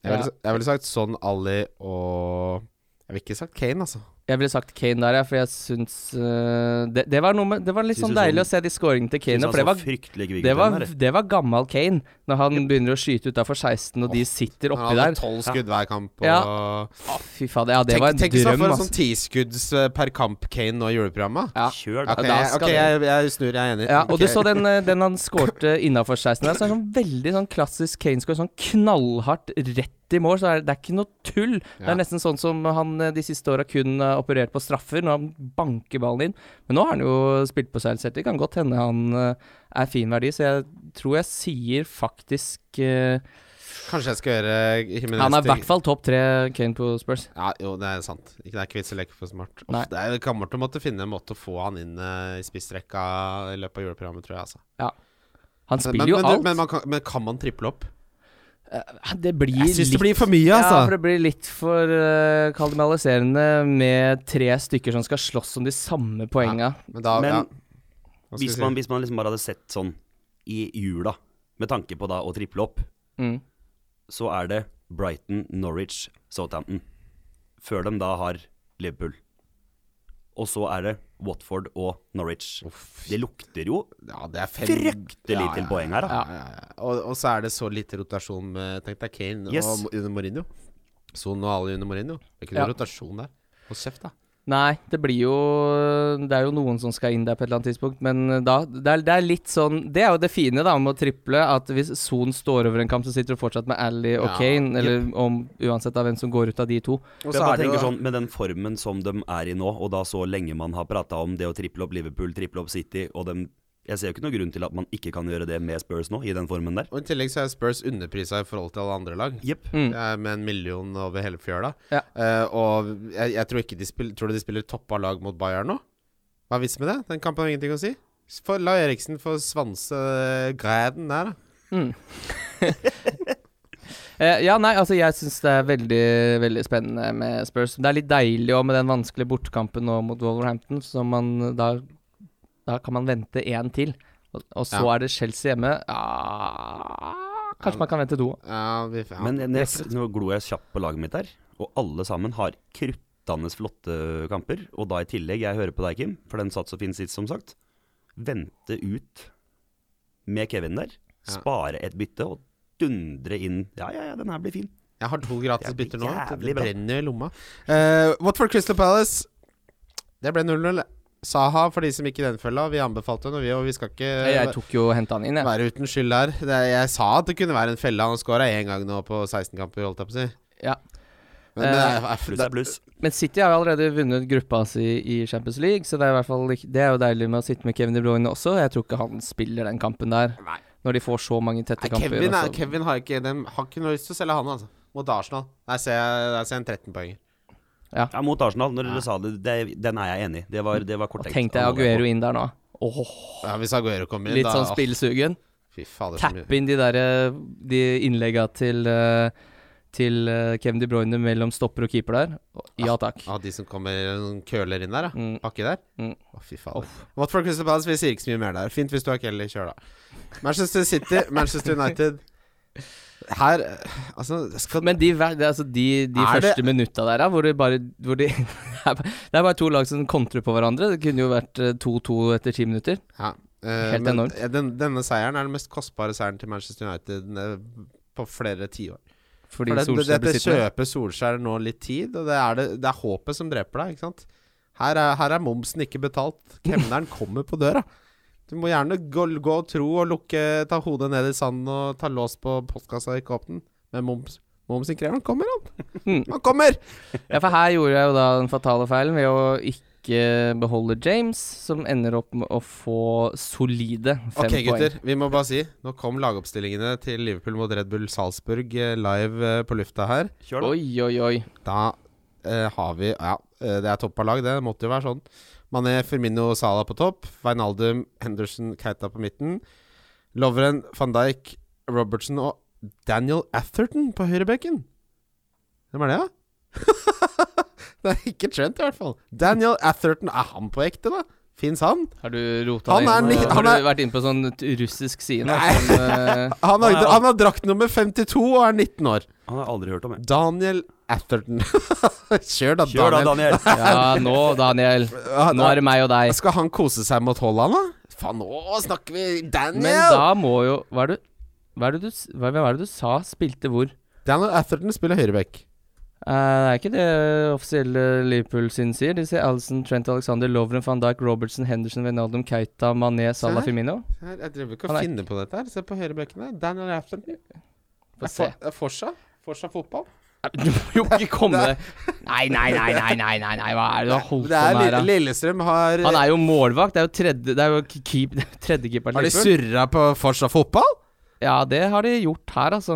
Speaker 3: Jeg ville,
Speaker 2: Ja.
Speaker 3: sa- jeg ville sagt Son, Ali og Jeg vil ikke sagt Kane, altså.
Speaker 2: Jeg ville sagt Kane der, ja, for jeg syns eh, det, det var noe med Det var litt
Speaker 4: Synes
Speaker 2: sånn
Speaker 4: du
Speaker 2: deilig
Speaker 4: sånn-
Speaker 2: å se de scoringene til
Speaker 4: Synes
Speaker 2: Kane,
Speaker 4: han
Speaker 2: for det
Speaker 4: så
Speaker 2: var
Speaker 4: fryktelig kvikk ut
Speaker 2: det
Speaker 4: den
Speaker 2: var,
Speaker 4: der.
Speaker 2: det var gammal Kane, når han begynner å skyte utafor 16, og de sitter
Speaker 3: Han
Speaker 2: oppi
Speaker 3: hadde
Speaker 2: der.
Speaker 3: tolv skudd hver kamp. Og
Speaker 2: Å, fy fader. Ja, det
Speaker 3: tenk,
Speaker 2: var en
Speaker 3: tenk så
Speaker 2: drøm,
Speaker 3: for en
Speaker 2: altså.
Speaker 3: sånn tiskudds per kamp Kane nå i juleprogrammet.
Speaker 2: Ja.
Speaker 4: Kjør, da.
Speaker 3: Ok,
Speaker 2: da skal
Speaker 3: ok, jeg, jeg snur, jeg er enig.
Speaker 2: Ja, og
Speaker 3: Ok.
Speaker 2: du så den, eh, den han skårte innafor 16 der, så er det sånn veldig sånn klassisk Kane-score. Sånn knallhardt rett i mål, så er det, det er ikke noe tull. Det
Speaker 3: Ja.
Speaker 2: er nesten sånn som han eh, de siste åra kun har operert på straffer, når han banker ballen inn. Men nå har han jo spilt på seg selv, så det kan godt hende han eh, er fin verdi, så jeg tror jeg sier faktisk eh,
Speaker 3: Kanskje jeg skal gjøre eh, Jimenez
Speaker 2: Han er i
Speaker 3: til-
Speaker 2: hvert fall topp tre Kane på Spurs.
Speaker 3: Ja, jo, det er sant. Ikke det er ikke vits å leke for smart. Uff,
Speaker 2: Nei.
Speaker 3: det er gammelt å måtte finne en måte å få han inn eh, i spissrekka i løpet av juleprogrammet, tror jeg. Altså.
Speaker 2: Han
Speaker 3: Men,
Speaker 2: spiller
Speaker 3: men,
Speaker 2: jo
Speaker 3: du-
Speaker 2: alt.
Speaker 3: men, man kan, men kan man triple opp?
Speaker 2: det blir
Speaker 3: Jeg syns det
Speaker 2: litt
Speaker 3: blir for mye,
Speaker 2: Ja, for
Speaker 3: altså.
Speaker 2: det blir litt for uh, kaldemaliserende med tre stykker som skal slåss om de samme poenga.
Speaker 3: men da,
Speaker 4: Men
Speaker 3: ja. Hva skal
Speaker 4: Hvis
Speaker 3: vi si?
Speaker 4: man, hvis man liksom bare hadde sett sånn i jula, med tanke på da å triple opp,
Speaker 2: Mm.
Speaker 4: så er det Brighton, Norwich, Southampton. Før de da har Liverpool. Og så er det Watford og Norwich. Det lukter jo
Speaker 3: ja, det er fem
Speaker 4: fryktelig
Speaker 3: Ja,
Speaker 4: til
Speaker 3: ja,
Speaker 4: poeng her, da.
Speaker 3: Ja, ja, ja. Og, og så er det så lite rotasjon med Tenk deg Kane
Speaker 4: Yes.
Speaker 3: og under Mourinho. Son og alle under Mourinho. Det er ikke
Speaker 2: Ja.
Speaker 3: noe rotasjon der. Hold kjeft, da.
Speaker 2: Nei, det blir jo Det er jo noen som skal inn der på et eller annet tidspunkt, men eh, da Det er, det er litt sånn Det er jo det fine da med å triple, at hvis Son står over en kamp, så sitter du fortsatt med Ally og
Speaker 3: Ja,
Speaker 2: Kane, eller om, uansett av hvem som går ut av de to.
Speaker 3: Og
Speaker 4: For jeg bare tenker sånn, Med den formen som de er i nå, og da så lenge man har prata om det å triple opp Liverpool, triple opp City og dem, Jeg ser jo ikke noen grunn til at man ikke kan gjøre det med Spurs nå, i den formen der.
Speaker 3: Og I tillegg så er Spurs underprisa i forhold til alle andre lag.
Speaker 4: Jepp.
Speaker 2: Mm.
Speaker 3: Det er med en million over hele fjøla.
Speaker 2: Ja.
Speaker 3: Eh, og jeg, jeg tror ikke de spiller Tror du de spiller toppa lag mot Bayern nå? Hva er vitsen med det? Den kampen har ingenting å si. For la Eriksen få svanse græden der, da.
Speaker 2: Eh, ja, nei, altså jeg syns det er veldig, veldig spennende med Spurs. Det er litt deilig òg med den vanskelige bortekampen nå mot Wolverhampton, så man da Da kan man vente én til. Og, og så
Speaker 3: Ja.
Speaker 2: er det Chelsea hjemme. Ja, kanskje man kan vente to.
Speaker 3: Ja, vi, ja.
Speaker 4: Men jeg- jeg, s- nå glor jeg kjapt på laget mitt her, og alle sammen har kruttende flotte kamper. Og da i tillegg, jeg hører på deg, Kim, for den satt så fin sist, som sagt. Vente ut med Kevin der.
Speaker 3: Ja.
Speaker 4: Spare et bytte og dundre inn. Ja, ja, ja, den her blir fin.
Speaker 3: Jeg har to gratis
Speaker 4: Det er
Speaker 3: bytter nå. vet du.
Speaker 4: jævlig
Speaker 3: Det
Speaker 4: bra.
Speaker 3: brenner i lomma. Eh, Watford Crystal Palace. Det ble 0-0. Saha, for de som ikke den følga. Vi anbefalte den, og vi, og vi skal ikke
Speaker 2: Jeg tok jo og henta han inn, jeg.
Speaker 3: være uten skyld der. Det, jeg sa at det kunne være en felle. Han skåra én gang nå på 16 kamper, holdt jeg på å si.
Speaker 2: Ja.
Speaker 3: Men, men det er,
Speaker 4: Pluss
Speaker 3: det
Speaker 4: er
Speaker 3: er,
Speaker 4: pluss.
Speaker 2: Men City har jo allerede vunnet gruppa si i Champions League, så det er, i hvert fall, ikke- det er jo deilig med å sitte med Kevin De Bruyne også. Jeg tror ikke han spiller den kampen der,
Speaker 3: Nei.
Speaker 2: når de får så mange tette
Speaker 3: Nei,
Speaker 2: kamper. altså.
Speaker 3: Kevin, er,
Speaker 2: også.
Speaker 3: Kevin har ikke dem, har ikke noe lyst til å selge han, altså. Mot Arsenal. Der ser jeg, der ser jeg en 13-poenger.
Speaker 4: Ja, mot Arsenal, når dere sa det, det, den er jeg enig i. Det var, det var kort
Speaker 2: Og
Speaker 4: tenkt.
Speaker 2: tenk deg
Speaker 4: av Aguero.
Speaker 2: Aguero inn der nå. Åh,
Speaker 3: Ja, hvis Aguero kommer inn,
Speaker 2: litt
Speaker 3: da
Speaker 2: sånn
Speaker 3: åh,
Speaker 2: spillsugen.
Speaker 3: Fy fader, så mye.
Speaker 2: Tappe inn de der eh, De innlegga til eh, Til eh, Kevin De Bruyne mellom stopper og keeper der. Og- Ja takk.
Speaker 3: Ja, de som kommer noen køler inn der, da.
Speaker 2: Mm.
Speaker 3: Pakki der.
Speaker 2: Mm.
Speaker 3: Å, fy fader. Watford Crystal Palace, vi sier ikke så mye mer der. Fint hvis du har Kelly, kjør da. Manchester City, Manchester United. Her eh, Altså, skal
Speaker 2: Men de, ver- det er altså de, de
Speaker 3: Er det-
Speaker 2: første minutta der, da, hvor det bare hvor de, Det er bare to lag som kontrer på hverandre. Det kunne jo vært eh, 2-2 etter ti minutter.
Speaker 3: ja, eh,
Speaker 2: Helt
Speaker 3: men,
Speaker 2: enormt.
Speaker 3: eh, Den, denne seieren er den mest kostbare seieren til Manchester United eh, på flere tiår.
Speaker 2: Fordi
Speaker 3: For det,
Speaker 2: Solskjær
Speaker 3: det,
Speaker 2: ble
Speaker 3: dette
Speaker 2: sittende.
Speaker 3: kjøper Solskjær nå litt tid, og det er, det, det er håpet som dreper deg, ikke sant? Her er, her er momsen ikke betalt. Kemneren kommer på døra. Du må gjerne gå, gå og tro og lukke, ta hodet ned i sanden og ta lås på postkassa og ikke åpne den. Men moms, momsen krever han kommer, han!
Speaker 2: Hmm.
Speaker 3: Han kommer!
Speaker 2: Ja, for her gjorde jeg jo da den fatale feilen ved å ikke beholde James, som ender opp med å få solide fem
Speaker 3: Ok,
Speaker 2: poeng.
Speaker 3: gutter. Vi må bare si nå kom lagoppstillingene til Liverpool mot Red Bull Salzburg eh, live eh, på lufta her.
Speaker 4: Kjør da.
Speaker 2: Oi, oi, oi.
Speaker 3: Da eh, har vi Ja, eh, det er topp av lag, det måtte jo være sånn. Mané, Firmino og Salah på topp. Wijnaldum, Henderson, Keita på midten. Lovren, van Dijk, Robertson og Daniel Atherton på høyrebekken. Hvem er det, da? det er ikke Trent, i hvert fall. Daniel Atherton, er han på ekte, da? Fins han?
Speaker 2: Har du rota
Speaker 3: Han
Speaker 2: deg
Speaker 3: er
Speaker 2: inn
Speaker 3: ni-
Speaker 2: på- eh, Har
Speaker 3: han er-
Speaker 2: du vært inne på sånn t- russisk side? nå,
Speaker 3: Nei.
Speaker 2: Som, eh,
Speaker 3: Han har, han har drakt nummer 52 og er 19 år.
Speaker 4: Han har jeg aldri hørt om, jeg.
Speaker 3: Daniel Atherton. Kjør da,
Speaker 4: Kjør da, Daniel.
Speaker 3: Daniel.
Speaker 2: Ja, nå, Daniel.
Speaker 3: Han-
Speaker 2: Nå er det meg og deg.
Speaker 3: Skal han kose seg mot Haaland, da? Faen, nå snakker vi Daniel!
Speaker 2: Men da må jo Hva er det, hva er det du s- hva, Hvem er det du sa spilte hvor?
Speaker 3: Daniel Atherton spiller høyreback.
Speaker 2: Eh, det er ikke det offisielle Liverpool sin sier. De sier Alison, Trent Alexander, Lovren, van Dijk, Robertson, Henderson, Wijnaldum, Keita, Mané, Salah,
Speaker 3: her.
Speaker 2: Firmino.
Speaker 3: Her, Jeg driver ikke
Speaker 2: Han
Speaker 3: og
Speaker 2: er
Speaker 3: finner på dette her. Se på høyrebekkene. Daniel Atherton.
Speaker 2: Få se.
Speaker 3: Forsa. Forsa fotball.
Speaker 2: Du må jo ikke komme Nei, nei, nei, nei, nei, nei, nei. hva er det du har holdt på
Speaker 3: Det er
Speaker 2: med her,
Speaker 3: Lille-
Speaker 2: da?
Speaker 3: Lillestrøm har eh,
Speaker 2: Han er jo målvakt. Det er jo tredje Det er jo k- keep, det er jo tredjekeeper til
Speaker 3: Har de
Speaker 2: Liverpool.
Speaker 3: surra på Forsa fotball?
Speaker 2: Ja, det har de gjort her, altså.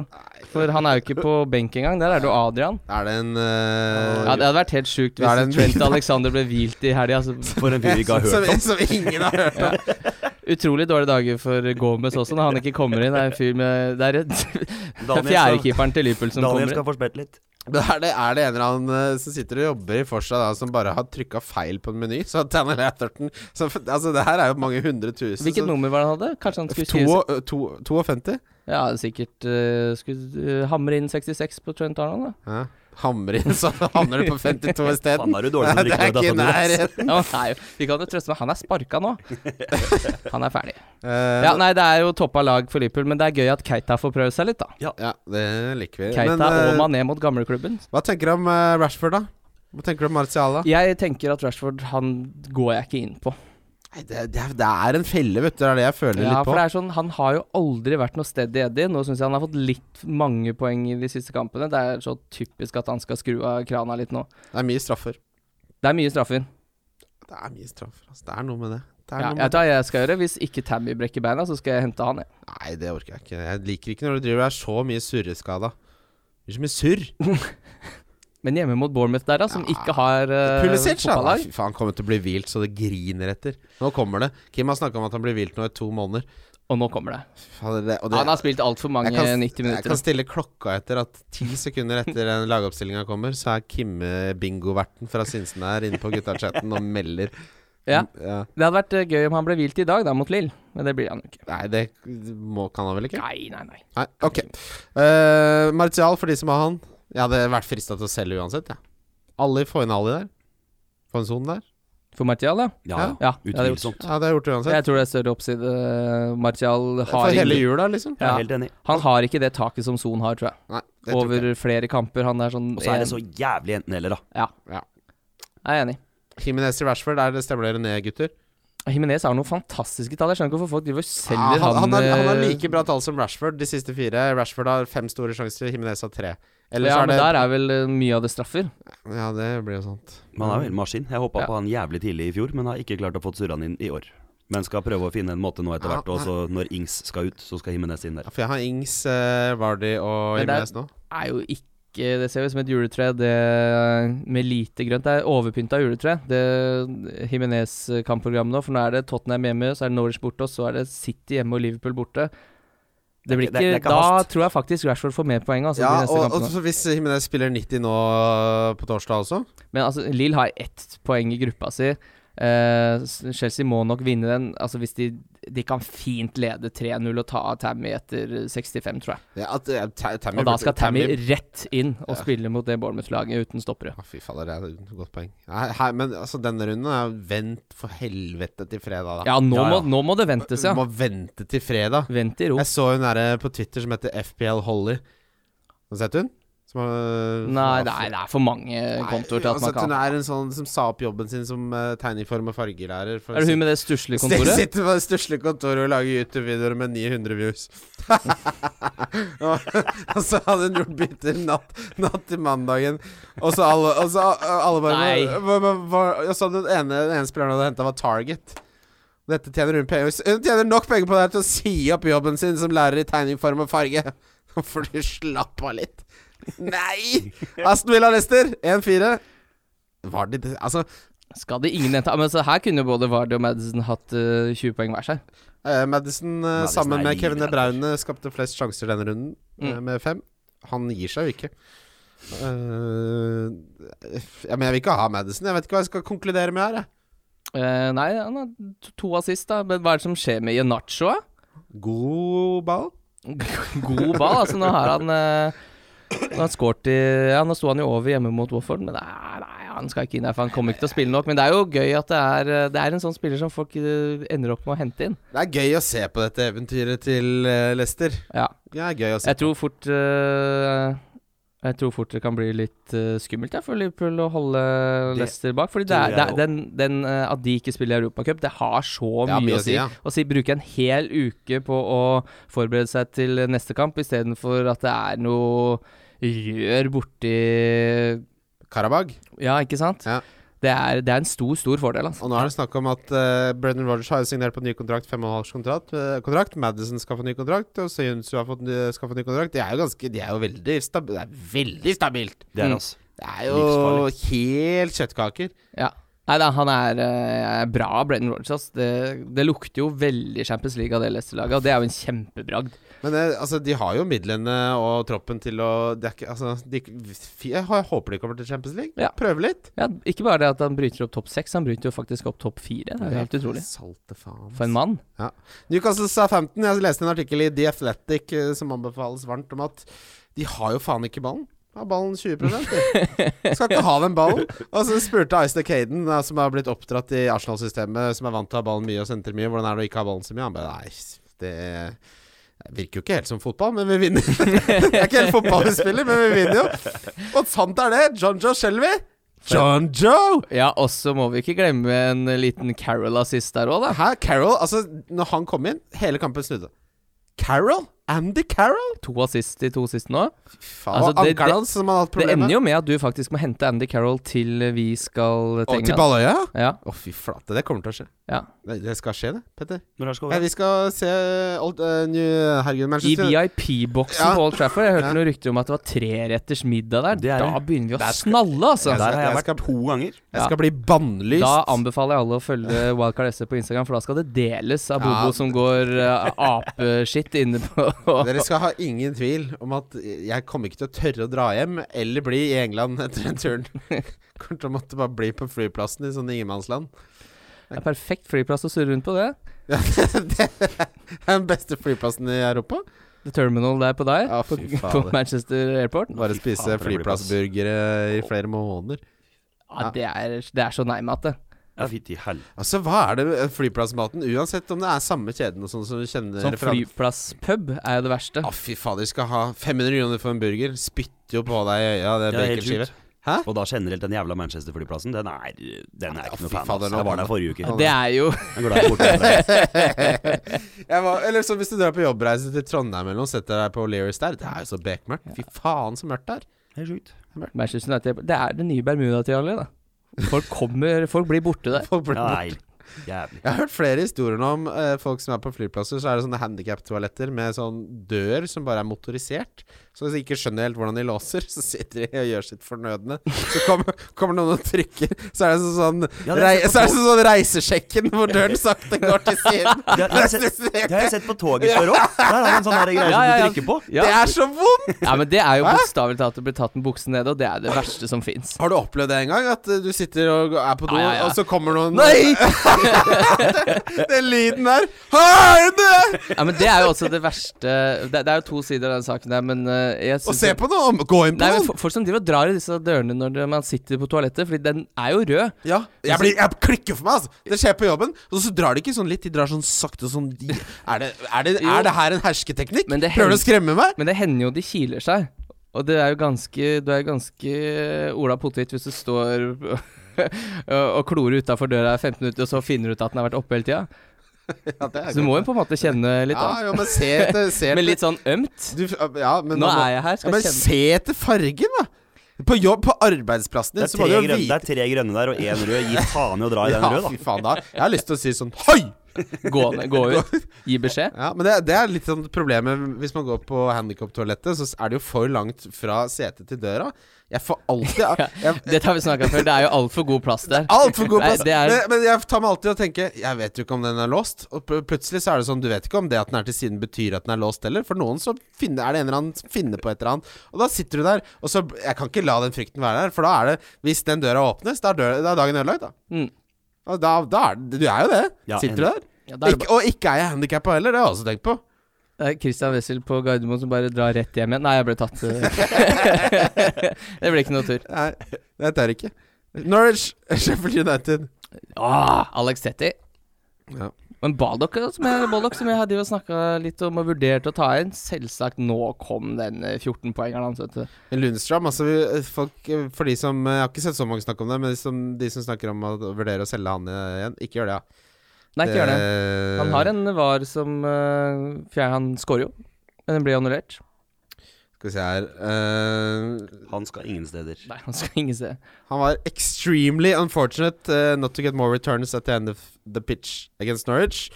Speaker 2: For han er jo ikke på benk engang. Der er det jo Adrian.
Speaker 3: Er det en eh,
Speaker 2: Ja, Det hadde vært helt sjukt
Speaker 3: Da er det en-
Speaker 2: hvis Trent Alexander ble hvilt i helga. Altså.
Speaker 4: For en fyr vi ikke har
Speaker 3: som,
Speaker 4: hørt om.
Speaker 3: som ingen har hørt om.
Speaker 2: Utrolig dårlige dager for Gomez også, når han ikke kommer inn. Det er en fyr med Det er en- det er
Speaker 4: Daniel skal,
Speaker 2: fjerdekeeperen til Liverpool som
Speaker 4: Daniel
Speaker 2: kommer
Speaker 4: skal
Speaker 2: inn.
Speaker 4: få spilt litt.
Speaker 3: Men er det, er det en eller annen eh, som sitter og jobber i Forsa da, som bare har trykka feil på en meny? Så Daniel Atherton så, Altså, det her er jo mange hundre tusen.
Speaker 2: Hvilket nummer var det han hadde? Kanskje han skulle
Speaker 3: To,
Speaker 2: skrive
Speaker 3: og- to, 52?
Speaker 2: Ja, sikkert eh, skulle eh, hamre inn 66 på Trent Arnold, da.
Speaker 3: Ja. Hamrer inn, så havner du på 52 isteden.
Speaker 4: Faen, er du dårlig til å
Speaker 3: Det
Speaker 4: drikke med
Speaker 3: er ikke i
Speaker 4: dataen din?
Speaker 3: nærheten.
Speaker 2: Ja, han er jo- vi kan jo trøste med han er sparka nå. Han er ferdig.
Speaker 3: Eh,
Speaker 2: Ja, nei, det er jo toppa lag for Liverpool, men det er gøy at Keita får prøve seg litt, da.
Speaker 3: ja, det liker vi.
Speaker 2: Keita
Speaker 3: Men eh,
Speaker 2: og Mané mot gamleklubben.
Speaker 3: hva tenker du om eh, Rashford, da? Hva tenker du om Martial, da?
Speaker 2: Jeg tenker at Rashford, han går jeg ikke inn på.
Speaker 3: Nei, Det, det, er- det er en felle, vet du. Det er det jeg føler
Speaker 2: Ja,
Speaker 3: litt på.
Speaker 2: for det er sånn, Han har jo aldri vært noe steady Eddie. Nå syns jeg han har fått litt mange poeng i de siste kampene. Det er så typisk at han skal skru av krana litt nå.
Speaker 3: Det er, mye straffer.
Speaker 2: Det er mye straffer.
Speaker 3: Det er mye straffer, altså. Det er noe med det. det, er
Speaker 2: Ja,
Speaker 3: noe
Speaker 2: jeg
Speaker 3: med
Speaker 2: vet hva jeg skal gjøre. Hvis ikke Tammy brekker beina, så skal jeg hente han. Jeg.
Speaker 3: det. Nei, det orker jeg ikke. Jeg liker ikke når du driver og er så mye surreskada. Det blir så mye surr.
Speaker 2: Men hjemme mot Bournemouth der, da, som
Speaker 3: Ja.
Speaker 2: ikke har eh,
Speaker 3: Pulisic, da. Nei,
Speaker 2: fotballag
Speaker 3: Fy faen, kommer til å bli hvilt så det griner etter. Nå kommer det. Kim har snakka om at han blir hvilt nå i to måneder.
Speaker 2: Og nå kommer det.
Speaker 3: Faen, det, og det,
Speaker 2: Han har spilt altfor mange
Speaker 3: Jeg kan-
Speaker 2: 90
Speaker 3: Jeg kan
Speaker 2: minutter.
Speaker 3: stille klokka etter at ti sekunder etter den lagoppstillinga kommer, så er Kimme bingoverten fra Sinsen her inne på gutta-chatten og melder. Mm,
Speaker 2: Ja.
Speaker 3: Ja.
Speaker 2: Det hadde vært eh, gøy om han ble hvilt i dag, da, mot Lill. Men det blir han jo ikke.
Speaker 3: Nei, det må, kan han vel ikke?
Speaker 2: Nei, nei, nei.
Speaker 3: Nei, ok. Eh, Martial, for de som har han. Jeg hadde vært frista til å selge uansett, jeg. Ali, få inn Ali der. Få en son der.
Speaker 2: For Martial, da?
Speaker 4: Ja,
Speaker 3: Ja.
Speaker 2: Ja, det hadde jeg gjort.
Speaker 4: utvilsomt.
Speaker 3: Ja, det har jeg gjort uansett.
Speaker 2: Jeg tror det er større oppside. eh, Martial
Speaker 3: For
Speaker 2: har
Speaker 3: hele
Speaker 2: ikke,
Speaker 3: jula, liksom.
Speaker 4: Jeg
Speaker 2: Ja.
Speaker 4: er helt enig.
Speaker 2: han har ikke det taket som Son har, tror jeg.
Speaker 3: Nei, det tror ikke jeg.
Speaker 2: over flere kamper. Han er sånn
Speaker 4: Og så er det
Speaker 2: en-
Speaker 4: så jævlig enten-eller, da.
Speaker 2: Ja.
Speaker 3: Ja.
Speaker 2: Jeg er enig.
Speaker 3: Jimenez i Rashford, der det stemmer dere ned, gutter?
Speaker 2: Jimenez har noen fantastiske tall. Jeg skjønner ikke hvorfor folk driver og selger
Speaker 3: Ja, Ah, han, han, har, han har
Speaker 2: eh,
Speaker 3: like bra tall som Rashford de siste fire. Rashford har fem store sjanser, Himinez har tre. Eller
Speaker 2: ja,
Speaker 3: så er
Speaker 2: men
Speaker 3: det
Speaker 2: der er vel eh, mye av det straffer.
Speaker 3: Ja, det blir jo sant.
Speaker 4: Men han er jo en maskin. Jeg håpa
Speaker 2: Ja.
Speaker 4: på han jævlig tidlig i fjor, men har ikke klart å få surra han inn i år. Men skal prøve å finne en måte nå etter
Speaker 3: Ja,
Speaker 4: hvert. Og så når Ings skal ut, så skal Jimenez inn der.
Speaker 3: Ja, for jeg har Ings, eh, Vardy og
Speaker 2: Men det er-
Speaker 3: Jimenez nå.
Speaker 2: Er jo ikke Det ser jo ut som et juletre det, med lite grønt. Det er overpynta juletre, det Jimenez-kampprogrammet nå. For nå er det Tottenham hjemme, så er det Norwich borte, og så er det City hjemme og Liverpool borte. Det blir
Speaker 4: Det
Speaker 2: ikke,
Speaker 4: er ikke- det er ikke
Speaker 2: Da
Speaker 4: hast.
Speaker 2: tror jeg faktisk Rashford får mer poeng. Altså,
Speaker 3: Ja,
Speaker 2: de neste
Speaker 3: og, og
Speaker 2: kampene.
Speaker 3: så hvis Jimenez spiller 90 nå eh, på torsdag også
Speaker 2: Men altså, Lill har ett poeng i gruppa si. Eh, Chelsea må nok vinne den. Altså hvis De de kan fint lede 3-0 og ta av Tammy etter 65, tror jeg.
Speaker 3: ja, at, eh, Ta- Tammy
Speaker 2: Og da
Speaker 3: burde-
Speaker 2: skal Tammy rett inn og
Speaker 3: Ja.
Speaker 2: spille mot det Bournemouth-laget uten stoppere.
Speaker 3: Å, Fy fader, det er et godt poeng. Nei, her, men altså, denne runden er vent for helvete til fredag, da.
Speaker 2: Ja, nå,
Speaker 4: Ja, ja.
Speaker 2: Må, nå må det ventes, ja.
Speaker 3: Du må vente til fredag.
Speaker 2: Vent i ro.
Speaker 3: Jeg så hun derre på Twitter som heter FPL Holly. Har du sett hun? Som har-
Speaker 2: Nei,
Speaker 3: som
Speaker 2: nei,
Speaker 3: har-
Speaker 2: det er for mange kontoer til at
Speaker 3: altså,
Speaker 2: man kan
Speaker 3: Hun er en sånn som sa opp jobben sin som uh, tegneform- og fargelærer. For
Speaker 2: Er det hun med det stusslige kontoret?
Speaker 3: Sitter på det stusslige kontoret og lager YouTube-videoer med 900 views. og og så hadde hun gjort bytter natt, natt til mandagen, og så alle, og så a- alle bare
Speaker 2: Nei.
Speaker 3: hva, hva, hva, Og så hadde den ene, den ene spilleren hun hadde henta, var Target. Dette tjener hun penger Hun tjener nok penger på det her til å si opp jobben sin som lærer i tegning, form og farge. For du slapp av litt. Nei! Aston Villa Lester, 1-4. Var det det Altså
Speaker 2: Skal det ingen hente? Ah, Men så her kunne jo både Vardy og Madison hatt eh, 20 poeng hver seg.
Speaker 3: Eh, Madison, eh,
Speaker 4: Madison
Speaker 3: sammen
Speaker 4: er
Speaker 3: med Kevin De
Speaker 4: livredd.
Speaker 3: Bruyne, skapte flest sjanser denne runden, eh,
Speaker 2: Mm.
Speaker 3: med fem. Han gir seg jo ikke. Eh, f- ja, men jeg vil ikke ha Madison. Jeg vet ikke hva jeg skal konkludere med her. Jeg.
Speaker 2: Eh, nei, han har to- to assist, da. Men hva er det som skjer med Janacho, da?
Speaker 3: God ball.
Speaker 2: god ball. Altså, nå har han eh, Nå har han scoret i Ja, nå sto han jo over hjemme mot Wofford, men nei, nei, han skal ikke inn der, for han kommer ikke til å spille nok. Men det er jo gøy at det er eh, Det er en sånn spiller som folk eh, ender opp med å hente inn.
Speaker 3: Det er gøy å se på dette eventyret til eh, Lester.
Speaker 2: Ja.
Speaker 3: Det er gøy å se.
Speaker 2: Jeg tror fort eh, Jeg tror fort det kan bli litt eh, skummelt ja, for Liverpool å holde Leicester bak. Fordi det
Speaker 4: tror
Speaker 2: er, det
Speaker 4: jeg
Speaker 2: er, den, den eh, at de ikke spiller i Europacup, det har så
Speaker 3: Det
Speaker 2: mye,
Speaker 3: har
Speaker 2: å si.
Speaker 3: ja.
Speaker 2: Å si bruke en hel uke på å forberede seg til neste kamp, istedenfor at det er noe rør borti
Speaker 3: Karabag.
Speaker 2: Ja, ikke sant?
Speaker 3: Ja.
Speaker 2: Det, er, det er en stor, stor fordel, altså.
Speaker 3: Og nå er det snakk om at uh, Brendan Rogers har jo signert på ny kontrakt, fem og en halv års kontrakt, eh, kontrakt. Madison skal få ny kontrakt, og Soyuncu har fått, ny- skal få ny kontrakt. De er jo ganske De er jo veldig, stabi det er veldig stabilt.
Speaker 4: Det er
Speaker 2: Mm.
Speaker 4: altså
Speaker 3: Det er jo
Speaker 4: Livsfarlig.
Speaker 3: helt kjøttkaker.
Speaker 2: Ja. Nei da, han er eh, bra, Brendan Rodgers. ass. Det, det lukter jo veldig Champions League av det Leicester-laget, og det er jo en kjempebragd.
Speaker 3: Men eh, altså, de har jo midlene og troppen til å det er ikke, altså, de, jeg, har- jeg håper de kommer til Champions League.
Speaker 2: Ja.
Speaker 3: Prøve litt.
Speaker 2: Ja, ikke bare det at han bryter opp topp seks, han bryter jo faktisk opp topp fire. Det er jo helt utrolig.
Speaker 3: Salte faen.
Speaker 2: For en mann.
Speaker 3: Newcastle sa 15. Jeg leste en artikkel i The Athletic eh, som anbefales varmt, om at de har jo faen ikke ballen. Har ballen 20 de. Skal ikke ha den ballen. Og så spurte Ice Caden, som har blitt oppdratt i Arsenal-systemet, som er vant til å ha ballen mye og sentrer mye, hvordan er det å ikke ha ballen så mye? Han bare nei, det virker jo ikke helt som fotball, men vi vinner. Jeg er ikke helt fotballspiller, men vi vinner jo. Og sant er det. John Joe Shelby. John Joe!
Speaker 2: Ja, og så må vi ikke glemme en liten Carol-assist der òg, da.
Speaker 3: Hæ, Carol? Altså, når han kom inn, hele kampen snudde. Carol? Andy Carol?
Speaker 2: To assist i to siste nå.
Speaker 3: Faen,
Speaker 2: Altså,
Speaker 3: det var
Speaker 2: det-
Speaker 3: ankeren hans som hadde hatt
Speaker 2: Det
Speaker 3: problemer.
Speaker 2: ender jo med at du faktisk må hente Andy Carroll til vi skal til
Speaker 3: Og til
Speaker 2: England.
Speaker 3: Balløya? Å,
Speaker 2: Ja,
Speaker 3: fy flate. Det kommer til å skje.
Speaker 2: ja.
Speaker 3: Det, det skal skje, det, Petter.
Speaker 4: Når er det skal
Speaker 3: Ja,
Speaker 4: være?
Speaker 3: vi skal se old, eh, New Herregud,
Speaker 2: I
Speaker 3: Manchester
Speaker 2: VIP-boksen
Speaker 3: Ja.
Speaker 2: på Old Trafford. Jeg hørte
Speaker 3: Ja.
Speaker 2: noen rykter om at det var treretters middag der.
Speaker 4: Det er
Speaker 2: Da
Speaker 4: det.
Speaker 2: begynner vi å snalle, altså.
Speaker 4: Der har jeg
Speaker 3: Jeg skal-
Speaker 4: vært to ganger.
Speaker 3: Jeg skal bli bannlyst.
Speaker 2: Da anbefaler jeg alle å følge Wildcard SE på Instagram, for da skal det deles av
Speaker 3: Ja.
Speaker 2: Bobo som går uh, apeskitt inne på
Speaker 3: Dere skal ha ingen tvil om at jeg kommer ikke til å tørre å dra hjem eller bli i England etter den turen. Kommer til å måtte bare bli på flyplassen i sånn ingenmannsland.
Speaker 2: Det er perfekt flyplass å surre rundt på det.
Speaker 3: Ja, det er den beste flyplassen i Europa.
Speaker 2: The terminal der på deg,
Speaker 3: Ja,
Speaker 2: på,
Speaker 3: fy
Speaker 2: på
Speaker 3: fader.
Speaker 2: Manchester Airport.
Speaker 3: Bare spise
Speaker 4: faen, for en flyplass.
Speaker 3: flyplassburgere i flere måneder.
Speaker 2: Ja, det er, det er så nei med at det.
Speaker 4: Ja, fytti helvete.
Speaker 3: Altså, hva er det med flyplassmaten? Uansett om det er samme kjeden og sånn som du kjenner
Speaker 2: Sånn
Speaker 3: referan-
Speaker 2: flyplasspub er jo det verste.
Speaker 3: Å, fy fader, skal ha 500 kroner for en burger. Spytter jo på deg i
Speaker 4: Ja,
Speaker 3: øya, det
Speaker 4: det er helt
Speaker 3: baconskivet.
Speaker 4: sjukt.
Speaker 3: Hæ?
Speaker 4: Og da generelt den jævla Manchester-flyplassen, den er Den er jeg ikke
Speaker 3: fy
Speaker 4: noe fan av.
Speaker 3: fader,
Speaker 4: altså.
Speaker 3: nå-
Speaker 4: Jeg var der forrige uke.
Speaker 2: Det er jo
Speaker 4: Jeg går der bort derfra.
Speaker 3: Jeg var- Eller så hvis du drar på jobbreise til Trondheim eller noe, setter deg på O'Learys der. Det er jo så bekmørkt. Fy faen, så mørkt det er.
Speaker 4: Det er sjukt.
Speaker 2: Manchester United Det er det nye Bermuda-triangelet, da. Folk kommer Folk blir borte der.
Speaker 3: Folk
Speaker 4: Ja,
Speaker 3: blir
Speaker 4: det er
Speaker 3: borte.
Speaker 4: helt jævlig.
Speaker 3: Jeg har hørt flere historier nå om eh, folk som er på flyplasser, så er det sånne handikap-toaletter med sånn dør som bare er motorisert. Så hvis de ikke skjønner helt hvordan de låser, så sitter de og gjør sitt fornødne. Så kommer, kommer noen og trykker, så er det sånn, sånn,
Speaker 4: Ja, det har
Speaker 3: rei,
Speaker 4: jeg sett på
Speaker 3: så er det sånn, sånn reisesjekken hvor døren sakte går til siden.
Speaker 4: Det har jeg sett, det har jeg sett på toget før òg. Der har man sånn der greie
Speaker 2: Ja, ja,
Speaker 4: som
Speaker 2: ja.
Speaker 4: du trykker på.
Speaker 3: Det
Speaker 2: Ja.
Speaker 3: er så vondt!
Speaker 2: ja, men det er jo
Speaker 3: Hæ?
Speaker 2: bokstavelig talt å bli tatt med buksen nede, og det er det verste som fins.
Speaker 3: Har du opplevd det en gang? At eh, du sitter og er på do,
Speaker 2: Ja, ja, ja.
Speaker 3: og så kommer noen
Speaker 2: Nei!
Speaker 3: Den lyden der. Hei, det!
Speaker 2: Ja, men Det er jo også det verste Det, det er jo to sider av den saken der, men eh, jeg
Speaker 3: Og
Speaker 2: synes
Speaker 3: se
Speaker 2: at-
Speaker 3: på noen! Gå inn på
Speaker 2: Nei, men
Speaker 3: noen!
Speaker 2: fo- Folk som driver og drar i disse dørene når det- man sitter på toalettet, fordi den er jo rød.
Speaker 3: Ja, jeg, blir, jeg klikker for meg, altså. Det skjer på jobben. Og så drar de ikke sånn litt, de drar sånn sakte sånn de, er, det, er, det,
Speaker 2: Jo.
Speaker 3: er det her en hersketeknikk?
Speaker 2: Men det
Speaker 3: Prøver du å
Speaker 2: hen-
Speaker 3: skremme meg?
Speaker 2: Men det hender jo de kiler seg. Og det er jo ganske Du er jo ganske Ola Potet hvis du står og klorer utafor døra i 15 minutter, og så finner du ut at den har vært oppe hele tida.
Speaker 3: Ja, det er
Speaker 2: Så du må jo på en måte kjenne litt
Speaker 3: Ja,
Speaker 2: av.
Speaker 3: ja, men se etter, se etter.
Speaker 2: Men litt sånn ømt.
Speaker 3: du, Ja, men
Speaker 2: Nå
Speaker 3: man må-
Speaker 2: er jeg her,
Speaker 3: ja,
Speaker 2: skal
Speaker 3: men
Speaker 2: jeg kjenne
Speaker 3: se etter fargen, da! På jobb, på arbeidsplassen
Speaker 4: Det
Speaker 3: din,
Speaker 4: er
Speaker 3: så
Speaker 4: tre
Speaker 3: må du jo
Speaker 4: grønne, det
Speaker 3: vite
Speaker 4: er tre grønne der og én rød. Gi faen i å dra i den
Speaker 3: Ja,
Speaker 4: røde,
Speaker 3: fy
Speaker 4: da.
Speaker 3: faen da. Jeg har lyst til å si sånn Hoi!
Speaker 2: Gå, ned- gå ut. Gi beskjed.
Speaker 3: Ja, men det, det er litt sånn problemet hvis man går på handikap-toalettet, så er det jo for langt fra setet til døra. Jeg får alltid jeg, jeg,
Speaker 2: Dette har vi snakka før. Det er jo altfor god plass der.
Speaker 3: Altfor god plass!
Speaker 2: Nei, det er-
Speaker 3: men, men jeg tar meg alltid og tenker Jeg vet jo ikke om den er låst. Og pl- plutselig så er det sånn Du vet ikke om det at den er til siden betyr at den er låst heller. For noen så finner, er det en eller annen som finner på et eller annet. Og da sitter du der, og så Jeg kan ikke la den frykten være der, for da er det Hvis den døra åpnes, da er, døra, da er dagen ødelagt, da.
Speaker 2: Mm.
Speaker 3: Og Da, da er det Du er jo det.
Speaker 4: Ja,
Speaker 3: sitter du der?
Speaker 2: Ja, da er det
Speaker 3: ikke, og ikke er jeg handikappa heller, det har jeg også tenkt på.
Speaker 2: Det er Christian Wessel på Gardermoen som bare drar rett hjem igjen. Nei, jeg ble tatt. eh. det ble ikke noe tur.
Speaker 3: Nei, det tør ikke. Norwich, Sheffield United.
Speaker 2: Ah, Alex Tetti.
Speaker 3: Ja.
Speaker 2: Men Baldock, eh, som jeg, Baldock, som jeg hadde jo snakka litt om og vurdert å ta inn, selvsagt nå kom den eh, 14-poengeren hans, vet du.
Speaker 3: Lundstrøm, altså vi- folk, for de som eh, Jeg har ikke sett så mange snakke om det, men de som, de som snakker om å vurdere å selge han eh, igjen, ikke gjør det. Ja.
Speaker 2: Nei, ikke gjør det. Han har en var som eh, fjer- Han scorer jo, men den blir annullert.
Speaker 3: Skal vi se her eh,
Speaker 4: Han skal ingen steder.
Speaker 2: Nei, han skal ingen se.
Speaker 3: Han var extremely unfortunate eh, not to get more returns at the end of the pitch against Norwich.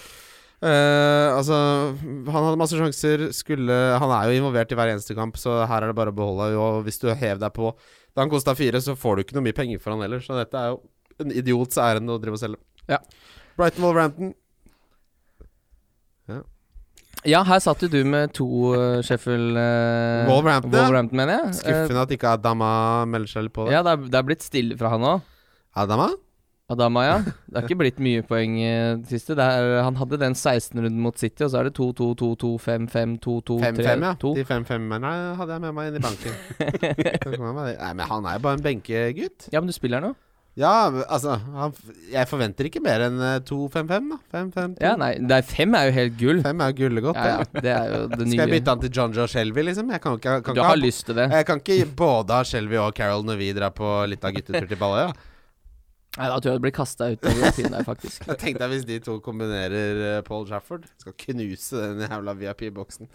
Speaker 3: Eh, altså, han hadde masse sjanser. Skulle, han er jo involvert i hver eneste kamp, så her er det bare å beholde. Og hvis du hever deg på da han kosta fire, så får du ikke noe mye penger for han heller. Så dette er jo en idiots ærend å drive og selge.
Speaker 2: Ja.
Speaker 3: Brighton Wolverhampton.
Speaker 2: Ja, her satt jo du med to eh, Sheffield eh,
Speaker 3: Wolverhampton, ja.
Speaker 2: Wolverhampton, mener jeg.
Speaker 3: Skuffende at ikke Adama melder seg litt på
Speaker 2: Eh,
Speaker 3: det.
Speaker 2: ja, det er, det er blitt stille fra han òg.
Speaker 3: Adama?
Speaker 2: Adama, ja. Det er ikke blitt mye poeng i det siste. Det er, han hadde den 16-runden mot City, og så er det
Speaker 3: 5-5, ja.
Speaker 2: 2-2-2-2-5-5-2-2-3-2.
Speaker 3: De 5-5-erne hadde jeg med meg inn i banken. Kan komme med det. Nei, men han er jo bare en benkegutt.
Speaker 2: Ja, men du spiller nå?
Speaker 3: Ja, men, altså han, f- Jeg forventer ikke mer enn eh, 2-5-5, da. 5-5-2.
Speaker 2: Ja, nei, det er fem er jo helt gull.
Speaker 3: 5 er jo gullegodt.
Speaker 2: Ja, ja, det er jo det
Speaker 3: det.
Speaker 2: nye.
Speaker 3: Skal jeg bytte han til John Joe Shelby, liksom? Jeg kan ikke, kan
Speaker 2: Du
Speaker 3: ikke
Speaker 2: har
Speaker 3: ha,
Speaker 2: lyst til det.
Speaker 3: jeg kan ikke både ha Shelby og Carol når vi drar på litt av guttetur til Balløya.
Speaker 2: Nei, da tror jeg du blir kasta ut av den tiden der, faktisk.
Speaker 3: Jeg tenkte jeg hvis de to kombinerer eh, Paul Shafford Skal knuse den jævla VIP-boksen.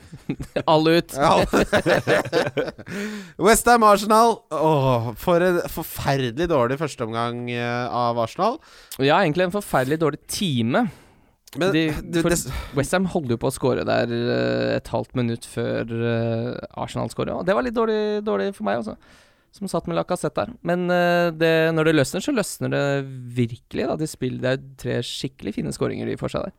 Speaker 2: Alle ut.
Speaker 3: Westham Arsenal. Åh, for en forferdelig dårlig førsteomgang eh, av Arsenal.
Speaker 2: Ja, egentlig en forferdelig dårlig time.
Speaker 3: Men
Speaker 2: De,
Speaker 3: du,
Speaker 2: for
Speaker 3: det,
Speaker 2: Westham holder jo på å skåre der eh, et halvt minutt før eh, Arsenal skårer. Og det var litt dårlig, dårlig for meg, altså. Som satt med Lacassette der. Men eh, det, når det løsner, så løsner det virkelig. Da. De spiller, det er jo tre skikkelig fine skåringer de får seg der.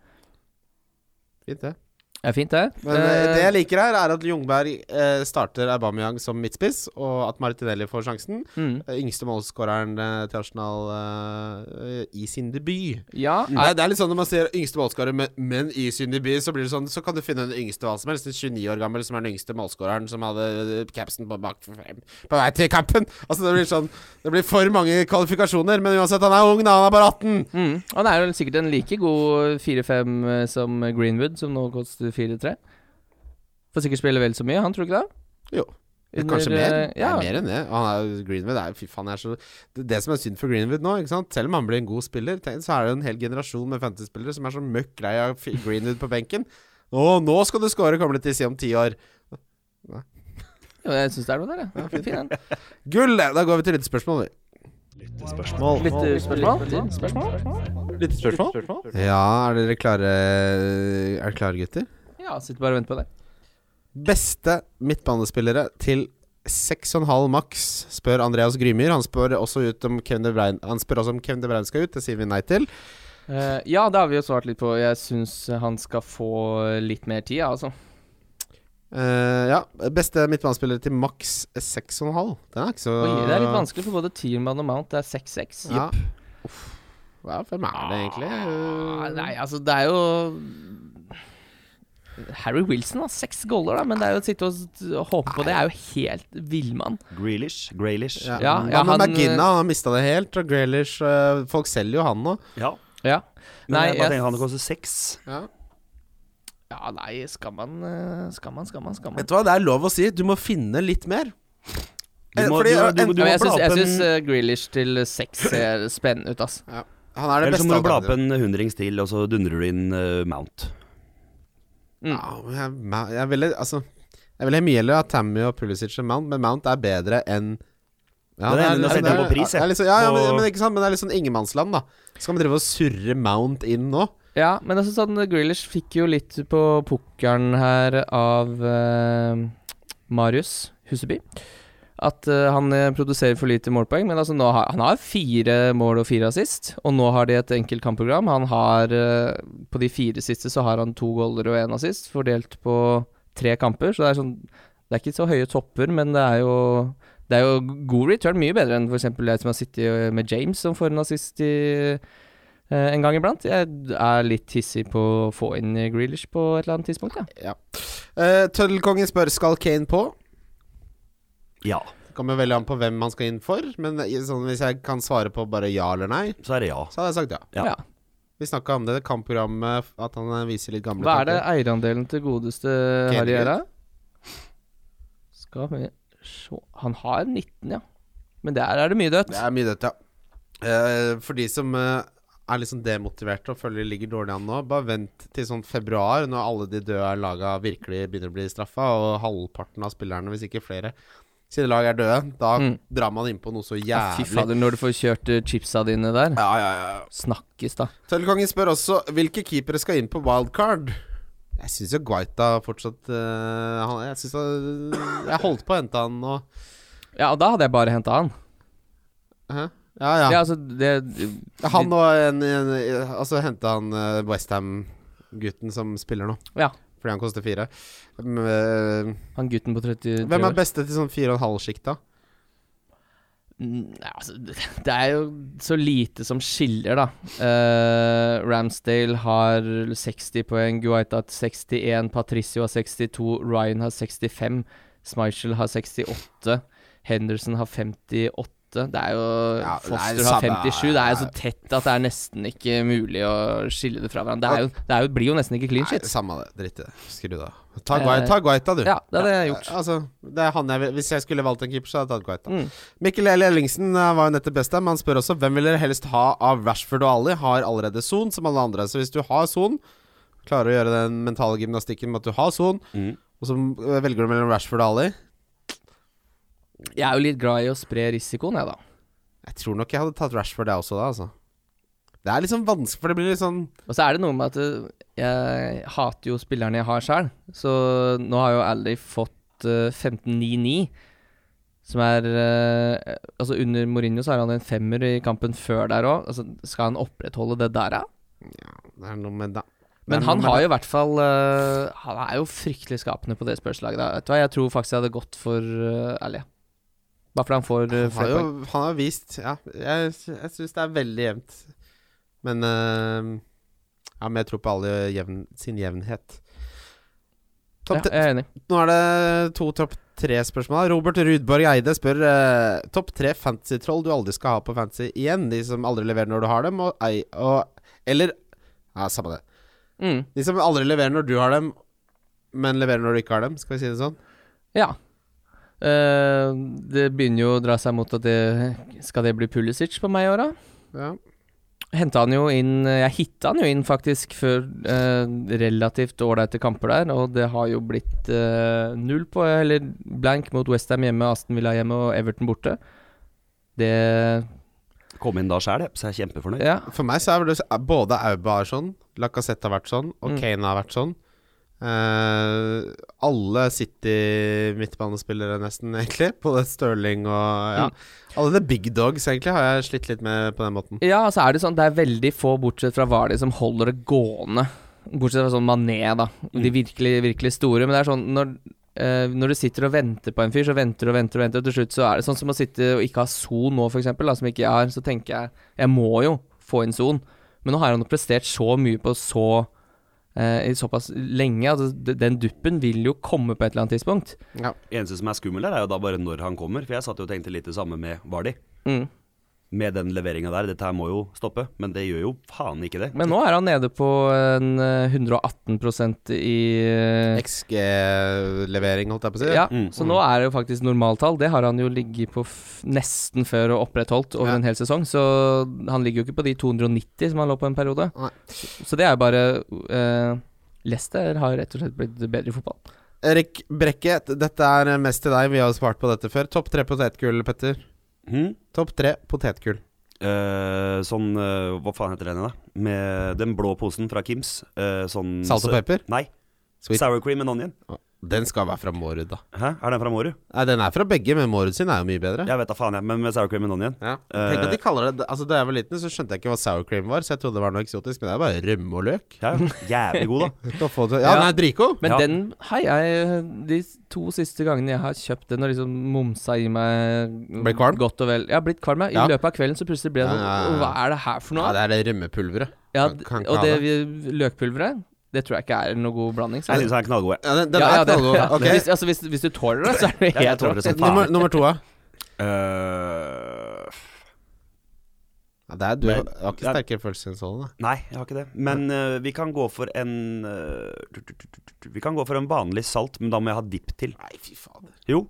Speaker 3: Fint, det.
Speaker 2: Det er fint, det.
Speaker 3: Men eh,
Speaker 2: Eh,
Speaker 3: det jeg liker her, er at Ljungberg eh, starter Aubameyang som midtspiss, og at Martinelli får sjansen.
Speaker 2: mm.
Speaker 3: Eh, Yngste målskåreren eh, til Arsenal eh, i sin debut.
Speaker 2: Ja,
Speaker 3: Nei, det er litt sånn når man ser yngste målskårer, men, men i sin debut, så blir det sånn Så kan du finne den yngste hva som helst. En 29 år gammel som er den yngste målskåreren som hadde eh, capsen på bak på vei til campen. Altså, det blir sånn Det blir for mange kvalifikasjoner, men uansett, han er ung, da. Han er bare 18.
Speaker 2: mm. Han er jo sikkert en like god 4-5 eh, som Greenwood, som nå koster 4-3. Får sikkert spille vel så mye, han tror ikke det?
Speaker 3: Jo.
Speaker 2: Under,
Speaker 3: Kanskje mer.
Speaker 2: eh,
Speaker 3: Ja. Mer enn det. Han er, jo- Greenwood er jo Fy faen, jeg er så det, det som er synd for Greenwood nå, ikke sant? selv om han blir en god spiller, tenk, så er det en hel generasjon med fantasy-spillere som er så møkk lei av fi- Greenwood på benken. Å, nå skal du score, kommer det til å si om ti år.
Speaker 2: Jo, jeg syns det er noe der, ja. Fin den.
Speaker 3: Gull! Da går vi til lyttespørsmål, vi.
Speaker 2: eh, Lyttespørsmål?
Speaker 3: Ja, er dere klare, er dere klare gutter?
Speaker 2: Ja, sitter bare og venter på det.
Speaker 3: Beste midtbanespillere til 6,5 maks, spør Andreas Grymyr. Han spør også ut om Kevin De Bruyne Han spør også om Kevin De Bruyne skal ut, det sier vi nei til.
Speaker 2: Eh, ja, det har vi jo svart litt på. Jeg syns han skal få litt mer tid, ja, altså.
Speaker 3: Eh, ja. Beste midtbanespiller til maks 6,5. Den er ikke så
Speaker 2: Oi, det er litt vanskelig for både Tierman og Mount. Det er 6-6.
Speaker 3: Ja. Uff. Hva, hvem er det egentlig?
Speaker 2: Ah, Nei, altså, det er jo Harry Wilson har seks goaler, da, men det er jo å sitte og s- håpe på det er jo helt villmann.
Speaker 4: Grealish. Graylish.
Speaker 3: Ja,
Speaker 4: Ja.
Speaker 2: ja,
Speaker 3: Hva
Speaker 2: ja,
Speaker 3: med
Speaker 2: han-
Speaker 3: McGinna? Han har mista det helt. Og Grealish eh, Folk selger jo han nå.
Speaker 2: Ja.
Speaker 4: Men
Speaker 2: Nei,
Speaker 4: jeg bare tenker han koster seks.
Speaker 3: Ja.
Speaker 2: ja, nei, skal man, eh, skal man, skal man, skal man.
Speaker 3: du hva, det er lov å si. Du må finne litt mer.
Speaker 4: Du
Speaker 3: Eh,
Speaker 4: må,
Speaker 3: fordi,
Speaker 4: du,
Speaker 3: eh,
Speaker 4: du,
Speaker 3: en-
Speaker 4: du,
Speaker 2: Ja,
Speaker 4: må
Speaker 2: men jeg
Speaker 4: bla
Speaker 2: syns,
Speaker 4: opp
Speaker 2: jeg
Speaker 4: en
Speaker 2: syns eh, Grealish til seks ser spennende ut, ass.
Speaker 3: Han er det
Speaker 4: Ellers så
Speaker 3: eh, beste
Speaker 4: må du bla opp
Speaker 3: alternativet.
Speaker 4: en hundrings til, og så dundrer du inn eh, Mount.
Speaker 2: Mm.
Speaker 3: Ja, men jeg, ma- jeg ville altså Jeg ville mye heller ha Tammy og Pulisic enn Mount, men Mount er bedre enn
Speaker 4: Det
Speaker 3: ja,
Speaker 4: er enig, da setter jeg på pris, jeg.
Speaker 3: jeg. Ja, ja, men,
Speaker 4: På-
Speaker 3: men, ikke sant? men det er litt sånn ingenmannsland, da. Skal man drive og surre Mount inn nå?
Speaker 2: Ja, men altså sånn Grealish fikk jo litt på pokeren her av eh, Marius Huseby. At eh, han eh, produserer for lite målpoeng, men altså nå har, han har fire mål og fire assist. Og nå har de et enkelt kampprogram. Han har eh, På de fire siste så har han to goaler og én assist, fordelt på tre kamper. Så det er sånn Det er ikke så høye topper, men det er jo det er jo god return, mye bedre enn f.eks. jeg som har sittet eh, med James, som får en assist i Eh, en gang iblant. Jeg er litt hissig på å få inn Grealish på et eller annet tidspunkt, ja.
Speaker 3: Ja. Eh, Tøddelkongen spør skal Kane på.
Speaker 4: Ja.
Speaker 3: Det kommer veldig an på hvem man skal inn for, men i- sånn, hvis jeg kan svare på bare ja eller nei,
Speaker 4: Så er det ja.
Speaker 3: så hadde jeg sagt ja.
Speaker 4: Ja.
Speaker 2: Ja.
Speaker 3: Vi snakka om det kampprogrammet, at han eh, viser litt gamle
Speaker 2: Hva er det
Speaker 3: tanker.
Speaker 2: eierandelen til godeste Harry
Speaker 3: Kennedy.
Speaker 2: Gjera? Skal vi se Han har 19, ja. Men der er det mye dødt.
Speaker 3: Det er mye dødt, ja. Eh, for de som eh, er litt sånn demotiverte og føler de ligger dårlig an nå, bare vent til sånn februar, når alle de døde laga virkelig begynner å bli straffa, og halvparten av spillerne, hvis ikke flere, sine lag er døde. Da
Speaker 2: Mm.
Speaker 3: drar man innpå noe så
Speaker 2: Ja, Fy
Speaker 3: jævlig.
Speaker 2: fader, når du får kjørt eh, chipsa dine der.
Speaker 3: Ja, ja, ja.
Speaker 2: Snakkes, da.
Speaker 3: Tøllkongen spør også hvilke keepere skal inn på wildcard. Jeg syns jo Guaita fortsatt eh, han, Jeg synes han, Jeg holdt på å hente han nå.
Speaker 2: Ja, og da hadde jeg bare henta han.
Speaker 3: Hæ? Ja, ja.
Speaker 2: Ja, altså, det
Speaker 3: Han og en, en Altså hente han eh, West Westham-gutten som spiller nå.
Speaker 2: Ja.
Speaker 3: Fordi han koster fire. Men, eh,
Speaker 2: Han gutten på 30
Speaker 3: hvem er
Speaker 2: år.
Speaker 3: beste til sånn fire og en halv sjikt, da?
Speaker 2: Mm, ja, altså, det er jo så lite som skiller, da. Eh, Ramsdale har 60 poeng, Guaita har 61, Patricio har 62, Ryan har 65, Smichel har 68, Henderson har 58. Det er jo
Speaker 3: Ja, det er
Speaker 2: Foster har
Speaker 3: samme-
Speaker 2: 57. Det er jo så tett at det er nesten ikke mulig å skille det fra hverandre. Det, er jo, det er jo, blir jo nesten ikke clean
Speaker 3: Nei,
Speaker 2: shit.
Speaker 3: samme det. Drit i det. Skru det av. Ta,
Speaker 2: Eh,
Speaker 3: Guai- ta Guaita, du.
Speaker 2: Ja, det hadde jeg gjort.
Speaker 3: Altså, det er han jeg, vil- hvis jeg skulle valgt en keeper, så hadde jeg tatt Guaita.
Speaker 2: Mm.
Speaker 3: Mikkel Eli Ellingsen eh, var jo nettopp best der, men han spør også hvem vil dere helst ha av Rashford og Ali? Har allerede Son, som alle andre. Så hvis du har Son, klarer å gjøre den mentale gymnastikken med at du har Son,
Speaker 4: Mm.
Speaker 3: og så eh, velger du mellom Rashford og Ali
Speaker 2: Jeg er jo litt glad i å spre risikoen, jeg, da.
Speaker 3: Jeg tror nok jeg hadde tatt Rashford, jeg også, da, altså. Det er liksom vanskelig, for det blir litt sånn
Speaker 2: Og så er det noe med at eh, jeg hater jo spillerne jeg har sjøl. Så nå har jo Ally fått eh, 15-9-9, som er eh, Altså under Mourinho så har han en femmer i kampen før der òg. Altså, skal han opprettholde det der, da?
Speaker 3: Det er noe med da. Det
Speaker 2: Men
Speaker 3: er
Speaker 2: han
Speaker 3: noe med
Speaker 2: har
Speaker 3: da.
Speaker 2: jo i hvert fall eh, Han er jo fryktelig skapende på det spørsmålet. da. Vet du hva, jeg tror faktisk jeg hadde gått for uh, Ally. Bare fordi han får eh,
Speaker 3: Han har
Speaker 2: flere
Speaker 3: jo
Speaker 2: poeng.
Speaker 3: han har vist Ja, jeg, sy- jeg syns det er veldig jevnt. Men eh, Ja, men jeg tror på alle jevn, sin jevnhet.
Speaker 2: Ja,
Speaker 3: Topp
Speaker 2: jeg er enig.
Speaker 3: Nå er det to topp tre-spørsmål. Robert Rudborg Eide spør eh, topp tre fantasy-troll du aldri skal ha på fantasy igjen. De som aldri leverer når du har dem, og, ei, og Eller Ja, samme det.
Speaker 2: Mm,
Speaker 3: De som aldri leverer når du har dem, men leverer når du ikke har dem. Skal vi si det sånn?
Speaker 2: ja. Eh, det begynner jo å dra seg mot at det Skal det bli Pulisic på meg i år, da?
Speaker 3: Ja.
Speaker 2: Henta han jo inn eh, Jeg hitta han jo inn faktisk før eh, relativt ålreite kamper der, og det har jo blitt eh, null på Eller blank mot Westham hjemme, Aston Villa hjemme og Everton borte. Det
Speaker 4: Kom inn da sjæl, så jeg er kjempefornøyd.
Speaker 2: Ja.
Speaker 3: For meg så er vel det både Auba er sånn, Lacassette har vært sånn, og
Speaker 2: Mm.
Speaker 3: Kane har vært sånn. Eh, alle City midtbanespillere, nesten, egentlig. Både Stirling og ja.
Speaker 2: Mm.
Speaker 3: Alle the big dogs, egentlig, har jeg slitt litt med på den måten.
Speaker 2: ja, så er det sånn Det er veldig få, bortsett fra Vardy, som holder det gående. Bortsett fra sånn Mané, da. De virkelig, virkelig store. Men det er sånn når eh, når du sitter og venter på en fyr, så venter du og venter og venter, og til slutt så er det sånn som å sitte og ikke ha Son nå, for eksempel, da, som ikke jeg har, så tenker jeg jeg må jo få inn Son, men nå har han jo prestert så mye på så eh, i såpass lenge at d- den duppen vil jo komme på et eller annet tidspunkt.
Speaker 3: Ja.
Speaker 4: Eneste som er skummel her, er jo da bare når han kommer. For jeg satt jo og tenkte litt det samme med Vardi.
Speaker 2: Mm.
Speaker 4: Med den leveringa der. Dette her må jo stoppe. Men det gjør jo faen ikke det.
Speaker 2: Men nå er han nede på en eh, 118 i eh,
Speaker 3: XG-levering, holdt jeg på å si.
Speaker 2: Ja,
Speaker 4: Mm.
Speaker 2: så nå er det jo faktisk normaltall. Det har han jo ligget på f nesten før og opprettholdt over
Speaker 3: Ja.
Speaker 2: en hel sesong. Så han ligger jo ikke på de 290 som han lå på en periode.
Speaker 3: Nei.
Speaker 2: Så det er jo bare eh, Leicester har rett og slett blitt bedre i fotball.
Speaker 3: Erik Brekke, t- dette er mest til deg. Vi har jo svart på dette før. Topp tre potetgull, Petter.
Speaker 4: Hm?
Speaker 3: Topp tre potetgull.
Speaker 4: Eh, sånn eh, Hva faen heter den igjen, da? Med den blå posen fra Kims. eh, sånn
Speaker 3: Salt og
Speaker 4: sø-
Speaker 3: pepper?
Speaker 4: Nei.
Speaker 3: Sweet.
Speaker 4: Sour cream and onion.
Speaker 3: Den skal være fra Mårud, da.
Speaker 4: Hæ? Er den fra Mårud?
Speaker 3: Nei, den er fra begge, men Mårud sin er jo mye bedre.
Speaker 4: Jeg vet da faen, jeg. Men med sour cream and onion.
Speaker 3: Ja. Tenk at de kaller det Altså Da jeg var liten, så skjønte jeg ikke hva sour cream var, så jeg trodde det var noe eksotisk, men det er bare rømme og løk.
Speaker 4: Ja, jævlig god, da.
Speaker 3: Da får du- Ja,
Speaker 2: Ja.
Speaker 3: den er dritgod!
Speaker 2: Men
Speaker 4: Ja.
Speaker 2: den har jeg De to siste gangene jeg har kjøpt den og liksom momsa i meg
Speaker 3: Ble kvalm?
Speaker 2: Godt og vel. Jeg har blitt kvalm, ja. I
Speaker 3: Ja.
Speaker 2: løpet av kvelden så plutselig ble jeg
Speaker 3: Ja,
Speaker 2: sånn
Speaker 3: ja, ja.
Speaker 2: Hva er det her for
Speaker 3: Ja,
Speaker 2: noe?
Speaker 3: det er det rømmepulveret.
Speaker 2: Ja,
Speaker 3: kan- kan
Speaker 2: og
Speaker 3: ikke ha
Speaker 2: det vi- løkpulveret Det tror jeg ikke er noen god blanding. så-
Speaker 4: Jeg syns han er knallgod. jeg.
Speaker 3: Ja, den, den
Speaker 2: Ja, ja,
Speaker 3: er knallgod.
Speaker 2: ja.
Speaker 3: Ok.
Speaker 2: Hvis, altså, hvis, hvis du tåler det, så er det
Speaker 4: Jeg
Speaker 2: helt
Speaker 4: tåler det som faen.
Speaker 3: Nummer, nummer to, ja.
Speaker 4: Øh,
Speaker 3: ja det er, du
Speaker 4: Men-
Speaker 3: har ikke sterke følelser enn sånn, da.
Speaker 4: nei, jeg har ikke det. Men øh, vi kan gå for en øh, du- du- du- du- du- Vi kan gå for en vanlig salt, men da må jeg ha dipp til.
Speaker 3: Nei, fy fader.
Speaker 4: Jo.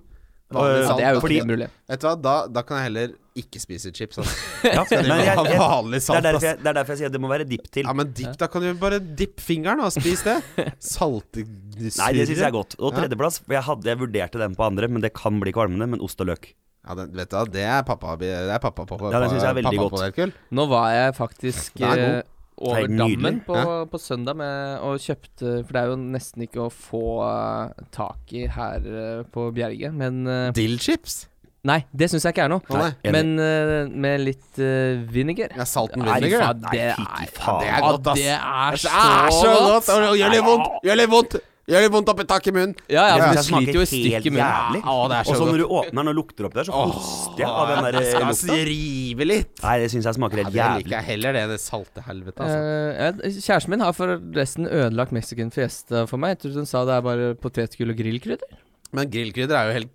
Speaker 3: Vanlig
Speaker 4: Øh,
Speaker 2: Ja, det er jo
Speaker 4: fordi-
Speaker 2: ikke mulig.
Speaker 3: Vet du hva, da, da kan jeg heller ikke spise chips. Altså.
Speaker 4: Ja,
Speaker 3: Skal
Speaker 4: men
Speaker 3: de
Speaker 4: jeg-
Speaker 3: ha
Speaker 4: jeg-
Speaker 3: vanlig
Speaker 4: Det er
Speaker 3: salt?
Speaker 4: derfor
Speaker 3: ass?
Speaker 4: jeg, det er derfor jeg sier at det må være dipp til.
Speaker 3: Ja, men dipp, da kan du bare dippe fingeren og spise det. Salte
Speaker 4: Nei, det syns jeg er godt. Og
Speaker 3: Ja.
Speaker 4: tredjeplass for jeg, hadde, jeg vurderte den på andre, men det kan bli kvalmende. Men ost og løk.
Speaker 3: Ja, den, vet du hva, det er pappa Det er pappa på
Speaker 4: Ja, det synes jeg er veldig godt.
Speaker 3: Herkul.
Speaker 2: Nå var jeg faktisk
Speaker 3: Den er
Speaker 2: eh,
Speaker 3: god.
Speaker 2: over
Speaker 4: Det er nydelig.
Speaker 2: dammen på, på søndag med, og kjøpte For det er jo nesten ikke å få eh, tak i her eh, på Bjerget, men eh,
Speaker 3: Dillchips?
Speaker 2: Nei, det syns jeg ikke er noe.
Speaker 3: Å, nei.
Speaker 4: Enig.
Speaker 2: Men eh, med litt eh, vinegar
Speaker 3: Ja, salten
Speaker 2: Nei,
Speaker 3: vinegar. ja.
Speaker 2: faen,
Speaker 4: Nei,
Speaker 2: det
Speaker 4: fy
Speaker 2: er-
Speaker 4: faen.
Speaker 3: Det er
Speaker 2: Ja,
Speaker 3: godt, ass.
Speaker 2: Det er
Speaker 3: Det
Speaker 2: så,
Speaker 3: er så godt!
Speaker 2: godt!
Speaker 3: og Gjør litt vondt! Gjør litt vondt! Gjør litt vondt oppi taket i munnen.
Speaker 2: Ja, ja,
Speaker 4: Jeg
Speaker 2: men
Speaker 4: synes
Speaker 2: det
Speaker 4: den smaker
Speaker 2: sliter jo
Speaker 4: helt
Speaker 2: i stykker
Speaker 4: jævlig.
Speaker 2: munnen.
Speaker 3: Å, det er så
Speaker 4: Og så
Speaker 3: godt.
Speaker 4: når du åpner den og lukter oppi der, så hoster jeg av den der eh,
Speaker 3: Skal
Speaker 4: lukta.
Speaker 3: jeg rive litt?
Speaker 4: Nei, det syns jeg smaker
Speaker 3: Ja,
Speaker 4: helt
Speaker 3: det liker
Speaker 4: jævlig.
Speaker 3: jeg heller, det, det salte helvete, altså.
Speaker 2: Eh, ja, kjæresten min har forresten ødelagt mexican fiesta for meg. Jeg tror hun sa det er bare potetgull og grillkrydder.
Speaker 3: Men grillkrydder er jo helt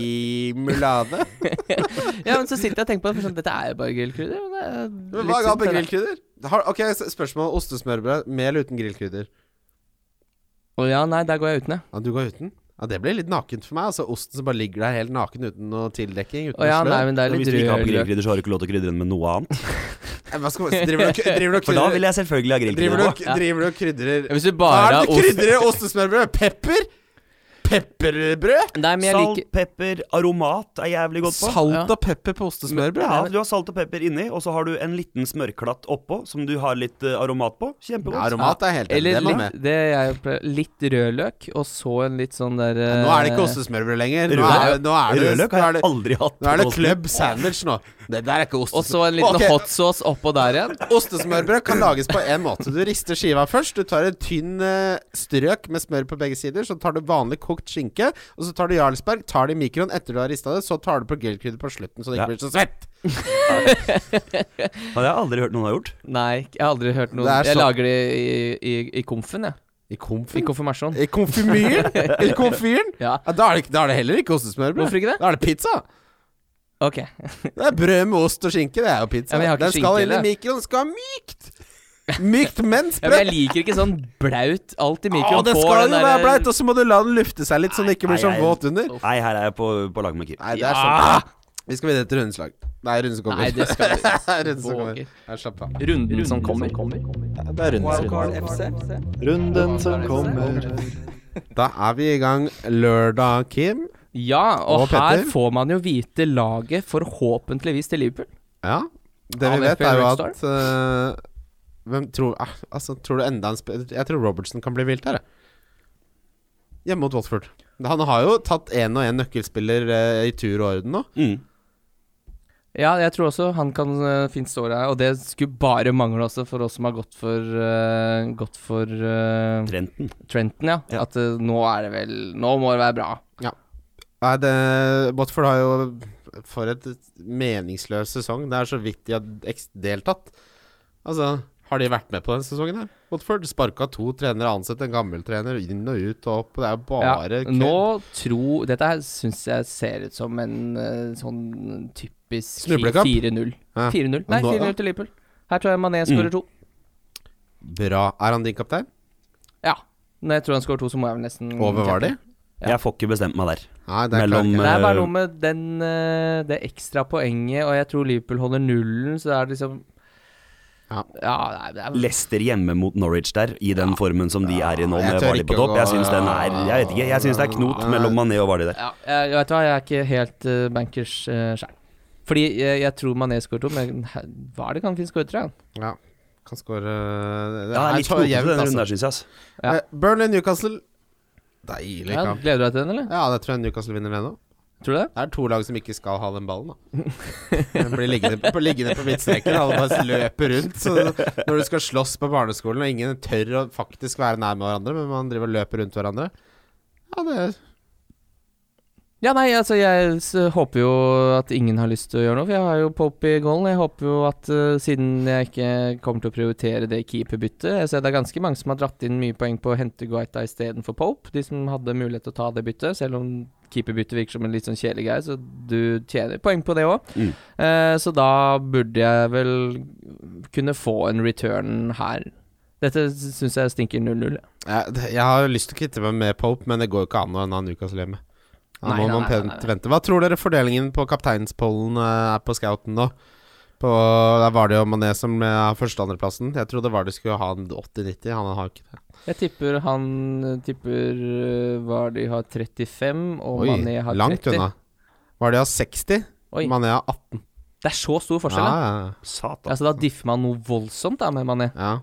Speaker 3: krimulade.
Speaker 2: Ja, men så sitter jeg og tenker på det, for sånn, dette er jo bare grillkrydder. Men det er litt
Speaker 3: Men Hva er galt med
Speaker 2: synd, det der.
Speaker 3: grillkrydder? Har, ok, s- Spørsmål ostesmørbrød med eller uten grillkrydder?
Speaker 2: Å ja, nei, der går jeg uten, jeg.
Speaker 3: Ja, du går uten? Ja, Det blir litt nakent for meg. altså Osten som bare ligger der helt naken uten noe tildekking. Uten
Speaker 2: Å ja,
Speaker 3: noe slør.
Speaker 2: nei, men det er
Speaker 4: Hvis
Speaker 2: litt
Speaker 4: du ikke har på
Speaker 2: rød
Speaker 4: grillkrydder, så har du ikke lov til å krydre den med noe annet.
Speaker 3: Eh, Hva skal, man- driver du og k- driver du og
Speaker 4: For da vil
Speaker 3: krydrer
Speaker 4: jeg selvfølgelig ha
Speaker 3: Driver du
Speaker 4: grillkrydder.
Speaker 3: og k- driver du og krydrer
Speaker 2: Hvis du
Speaker 3: Hva
Speaker 2: bare
Speaker 3: er det
Speaker 2: har
Speaker 3: du
Speaker 2: ost
Speaker 3: krydrer ostesmørbrød? Pepper? Pepperbrød?
Speaker 2: Nei, men jeg
Speaker 4: Salt,
Speaker 2: liker
Speaker 4: pepper, aromat er jævlig godt på.
Speaker 3: Salt
Speaker 2: Ja.
Speaker 3: og pepper på ostesmørbrød?
Speaker 4: Ja,
Speaker 3: Ja,
Speaker 4: du har salt og pepper inni, og så har du en liten smørklatt oppå som du har litt eh, aromat på. Kjempegodt.
Speaker 3: Aromat er helt enig.
Speaker 2: Eller
Speaker 3: Det må
Speaker 2: litt,
Speaker 3: med.
Speaker 2: det jeg pleier Litt rødløk, og så en litt sånn der
Speaker 3: Nå er det ikke
Speaker 2: eh,
Speaker 3: ostesmørbrød lenger. Nå er,
Speaker 4: Rødløk
Speaker 3: nå er det
Speaker 4: rødløk
Speaker 3: nå er
Speaker 4: har
Speaker 3: det-
Speaker 4: jeg aldri hatt.
Speaker 3: Nå er det
Speaker 4: på osten.
Speaker 3: club sandwich nå. Det der er ikke ostesmørbrød.
Speaker 2: Og så en liten
Speaker 3: Ok,
Speaker 2: hot sauce oppå der igjen.
Speaker 3: Ostesmørbrød kan lages på en måte. Du rister skiva først. Du tar en tynn eh, strøk med smør på begge sider. Så tar du vanlig kokt skinke, og så tar du Jarlsberg. Tar det i mikroen etter du har rista det. Så tar du på grillkrydder på slutten, så det
Speaker 4: Ja.
Speaker 3: ikke blir så svett.
Speaker 4: Ja, Det har jeg aldri hørt noen har gjort.
Speaker 2: Nei, jeg har aldri hørt noen
Speaker 3: Det er
Speaker 2: Jeg
Speaker 3: så-
Speaker 2: lager det i, i, i komfen, jeg.
Speaker 3: I
Speaker 2: I
Speaker 3: komfyren?
Speaker 2: konfirmasjon.
Speaker 3: I konfymyren? I konfyren?
Speaker 2: Ja,
Speaker 3: Ja, da, er det, ikke- da er det heller ikke ostesmørbrød.
Speaker 2: Hvorfor ikke det?
Speaker 3: Da er det pizza.
Speaker 2: ok.
Speaker 3: Det er brød med ost og skinke. Det er jo pizza.
Speaker 2: Ja, men jeg har ikke
Speaker 3: den skal
Speaker 2: skinke,
Speaker 3: inn i
Speaker 2: eller?
Speaker 3: mikroen. Den skal være mykt! Mykt, men
Speaker 2: Ja, men jeg
Speaker 3: sprøtt.
Speaker 2: liker ikke sånn blaut alt i
Speaker 3: Å,
Speaker 2: mikroen.
Speaker 3: det
Speaker 2: Får
Speaker 3: skal
Speaker 2: den eh,
Speaker 3: jo
Speaker 2: derre-
Speaker 3: være blaut, og så må du la den lufte seg litt, så den ikke
Speaker 4: Nei,
Speaker 3: blir så
Speaker 4: jeg-
Speaker 3: våt under.
Speaker 4: Nei, her er jeg på, på lag med Kim.
Speaker 3: Nei, det er sånn. Vi skal videre til rundens lag. Nei, runden som kommer.
Speaker 2: Nei, det skal vi.
Speaker 3: runden som kommer.
Speaker 2: Våger.
Speaker 3: Nei, slapp av.
Speaker 2: Runden som kommer.
Speaker 5: Det er
Speaker 1: Wildcard
Speaker 5: runden,
Speaker 1: FC.
Speaker 5: runden som kommer.
Speaker 3: Da er vi i gang lørdag, Kim.
Speaker 2: Ja, og,
Speaker 3: Og
Speaker 2: her
Speaker 3: Petter?
Speaker 2: får man jo vite laget forhåpentligvis til Liverpool.
Speaker 3: Ja. Det
Speaker 2: Ja,
Speaker 3: vi
Speaker 2: det er
Speaker 3: vet, er jo
Speaker 2: Red
Speaker 3: at eh, Hvem tror eh, Altså, tror du enda en sp Jeg tror Robertson kan bli vilt her, jeg. Hjemme mot Watford. Han har jo tatt én og én nøkkelspiller eh, i tur og orden nå.
Speaker 4: Mm.
Speaker 2: Ja, jeg tror også han kan eh, fint stå der, og det skulle bare mangle også for oss som har gått for, eh, gått for eh,
Speaker 4: Trenten.
Speaker 2: Trenton, ja.
Speaker 4: Ja.
Speaker 2: At eh, nå er det vel Nå må det være bra.
Speaker 3: Nei, det Watford har jo For et meningsløs sesong. Det er så vidt de har eks- deltatt. Altså, har de vært med på denne sesongen her? Watford sparka to trenere, ansatt en gammel trener, inn og ut og opp. og Det er jo bare
Speaker 2: ja.
Speaker 3: kø.
Speaker 2: Nå tror Dette her syns jeg ser ut som en eh, sånn typisk
Speaker 3: Snublekamp?
Speaker 2: 4-0.
Speaker 3: Ja. Mm.
Speaker 2: 4-0. Nei,
Speaker 3: Nå-
Speaker 2: 4-0 til Liverpool. Her tror jeg Mané skårer to.
Speaker 3: Bra. Er han din kaptein?
Speaker 2: Ja. Når jeg tror han skårer to, så må jeg vel nesten
Speaker 3: Over var de?
Speaker 2: Ja.
Speaker 4: Jeg får ikke bestemt meg der.
Speaker 3: Nei, det er
Speaker 4: Mellom,
Speaker 3: klart.
Speaker 2: Det er bare
Speaker 4: Eh,
Speaker 2: noe med den, eh, det ekstra poenget, og jeg tror Liverpool holder nullen, så det er liksom
Speaker 3: Ja.
Speaker 2: ja det er
Speaker 4: Leicester hjemme mot Norwich der, i den formen som de er i nå,
Speaker 3: jeg
Speaker 4: med
Speaker 3: tør
Speaker 4: Vardy på
Speaker 3: ikke å
Speaker 4: topp.
Speaker 3: gå-
Speaker 4: Jeg syns den er Jeg vet ikke, jeg syns det er knot mellom Mané og Vardy der.
Speaker 2: Ja, jeg, jeg vet du hva, jeg er ikke helt eh, bankers uh, sjøl. Fordi eh, jeg, jeg tror Mané skårer to, men he- hva er det kan finnes skåret tre? han?
Speaker 3: Ja. Kan skåre Det
Speaker 4: Ja,
Speaker 3: er
Speaker 4: litt
Speaker 3: så
Speaker 4: knotete
Speaker 3: jevnt,
Speaker 4: den runden
Speaker 3: altså.
Speaker 4: der, syns jeg. ass.
Speaker 2: Ja.
Speaker 3: Eh, Burnley Newcastle. Deilig
Speaker 2: Ja,
Speaker 3: kamp.
Speaker 2: gleder du deg til den, eller?
Speaker 3: Ja, det tror jeg Newcastle vinner det nå.
Speaker 2: Tror du det?
Speaker 3: Det er to lag som ikke skal ha den ballen, da. Den blir liggende på, liggende på midtstreken. Alle bare løper rundt. Så når du skal slåss på barneskolen, og ingen tør å faktisk være nær med hverandre, men man driver og løper rundt hverandre Ja, det
Speaker 2: Ja, nei, altså jeg s håper jo at ingen har lyst til å gjøre noe, for jeg har jo Pope i goalen. Jeg håper jo at eh, siden jeg ikke kommer til å prioritere det keeperbyttet Jeg ser det er ganske mange som har dratt inn mye poeng på å hente Guaita istedenfor Pope. De som hadde mulighet til å ta det byttet, selv om keeperbytte virker som en litt sånn kjedelig greie, så du tjener poeng på det òg.
Speaker 4: Mm.
Speaker 2: så da burde jeg vel kunne få en return her. Dette syns jeg stinker 0-0.
Speaker 3: Jeg, jeg har jo lyst til å kvitte meg med Pope, men det går jo ikke an å ha Lucas Lemme. Da
Speaker 2: Nei,
Speaker 3: må
Speaker 2: nei,
Speaker 3: man
Speaker 2: nei,
Speaker 3: pent
Speaker 2: nei, nei.
Speaker 3: vente. Hva tror dere fordelingen på kapteinspollen eh, er på scouten nå? På, der var det jo Mané som eh, har første- og andreplassen. Jeg trodde Vardø skulle ha en 80-90. Han har ikke det.
Speaker 2: Jeg tipper han eh, tipper eh, Vardy har 35, og
Speaker 3: Oi,
Speaker 2: Mané har 30.
Speaker 3: langt unna. Vardø har 60,
Speaker 2: Oi,
Speaker 3: Mané har 18.
Speaker 2: det er så stor
Speaker 3: Ja,
Speaker 2: forskjell, da.
Speaker 3: ja, ja.
Speaker 4: Satan.
Speaker 2: Altså, da differ man noe voldsomt da med Mané.
Speaker 3: ja,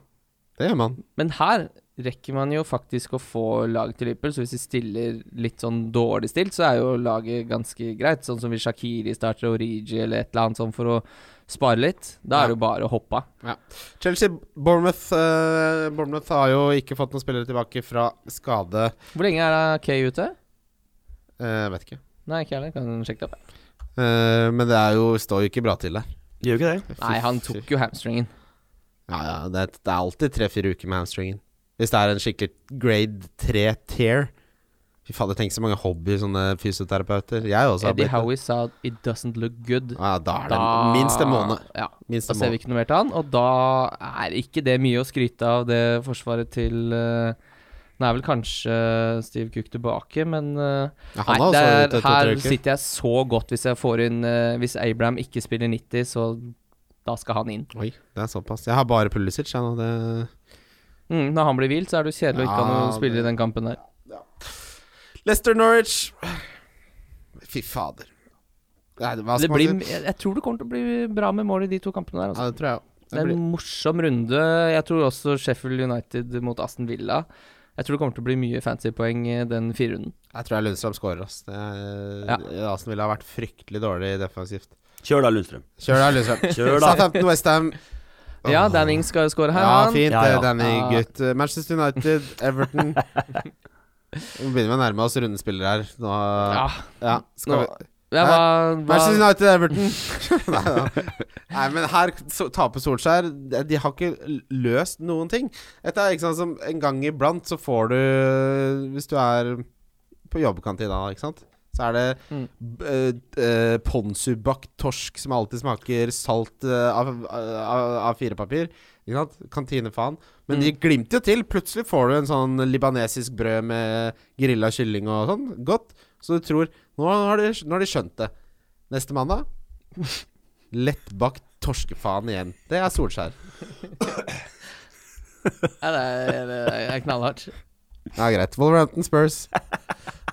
Speaker 3: det gjør man.
Speaker 2: Men her rekker man jo faktisk å få lag til Liverpool, så hvis de stiller litt sånn dårlig stilt, så er jo laget ganske greit. Sånn som hvis Shakiri starter Origi eller et eller annet sånn for å spare litt. Da er det jo bare å hoppe av.
Speaker 3: Chelsea Bournemouth eh, Bournemouth har jo ikke fått noen spillere tilbake fra skade.
Speaker 2: Hvor lenge er da Kay ute?
Speaker 3: Eh, vet ikke.
Speaker 2: Nei, ikke heller. Kan sjekke det opp. jeg.
Speaker 3: Eh, men det er jo, står jo ikke bra til der.
Speaker 4: Gjør jo ikke det.
Speaker 2: Nei, han tok jo hamstringen.
Speaker 3: Ja, ja, det er, det er alltid tre-fire uker med hamstringen. Hvis det er en skikkelig grade 3 tear Fy fader, tenk så mange hobby sånne fysioterapeuter. Jeg også har
Speaker 2: Eddie
Speaker 3: blitt det.
Speaker 2: Howie sa 'it doesn't look good'.
Speaker 3: Ja, da er det minst en måned.
Speaker 2: Ja,
Speaker 3: Minst
Speaker 2: Da
Speaker 3: en
Speaker 2: ser vi
Speaker 3: måned.
Speaker 2: ikke noe mer til han, og da er ikke det mye å skryte av det forsvaret til eh, Nå er vel kanskje Steve Cook tilbake, men eh,
Speaker 3: Ja,
Speaker 2: nei,
Speaker 3: han er også
Speaker 2: det er,
Speaker 3: ute
Speaker 2: her
Speaker 3: to-tre uker.
Speaker 2: sitter jeg så godt hvis jeg får inn eh, Hvis Abraham ikke spiller 90, så da skal han inn.
Speaker 3: Oi, det er såpass. Jeg har bare Pulisic. Jeg, nå, det...
Speaker 2: Mm, når han blir hvilt, så er det jo kjedelig å ikke ha
Speaker 3: Ja,
Speaker 2: noen spillere i den kampen der.
Speaker 3: Lester Norwich. Fy fader. Nei, det- hva
Speaker 2: Det
Speaker 3: skal Altså, man
Speaker 2: blir,
Speaker 3: si?
Speaker 2: jeg, jeg tror det kommer til å bli bra med mål i de to kampene der. Altså.
Speaker 3: Ja, det tror jeg òg.
Speaker 2: Det er en morsom runde. Jeg tror også Sheffield United mot Aston Villa. Jeg tror det kommer til å bli mye fancy poeng i den firerunden.
Speaker 3: Jeg tror jeg Lundstrøm scorer, ass. Det er, Aston ville ha vært fryktelig dårlig defensivt.
Speaker 4: Kjør da, Lundstrøm.
Speaker 3: Kjør da, Lundstrøm.
Speaker 4: Kjør da.
Speaker 3: Southampton Westham.
Speaker 2: Ja, Danning skal jo score her.
Speaker 3: Ja,
Speaker 2: han.
Speaker 3: fint,
Speaker 4: Ja, ja.
Speaker 3: Danny,
Speaker 2: Ja.
Speaker 3: gutt. Manchester United, Everton. Vi begynner med å nærme oss rundespillere her. Nå, ja.
Speaker 2: Ja,
Speaker 3: skal
Speaker 2: nå-
Speaker 3: vi
Speaker 2: ja,
Speaker 3: Hæ?
Speaker 2: hva, sånn, hva,
Speaker 3: Manchester United, Everton. Nei, da. Nei, men her so- taper Solskjær. De- De har ikke l- løst noen ting. Dette er ikke sant som En gang iblant så får du Hvis du er på jobbekantina, ikke sant, så er det
Speaker 2: Mm.
Speaker 3: b- eh, eh, ponsubakt torsk som alltid smaker salt eh, av, av, av firepapir. Ikke sant? Kantinefaen. Men de glimter jo til. Plutselig får du en sånn libanesisk brød med grilla kylling og sånn. Godt. Så du tror Nå har de, nå har de skjønt det. Neste mandag Lettbakt torskefaen igjen. Det er Solskjær.
Speaker 2: ja, det, er, det er knallhardt.
Speaker 3: Ja, greit. Wolverhampton Spurs.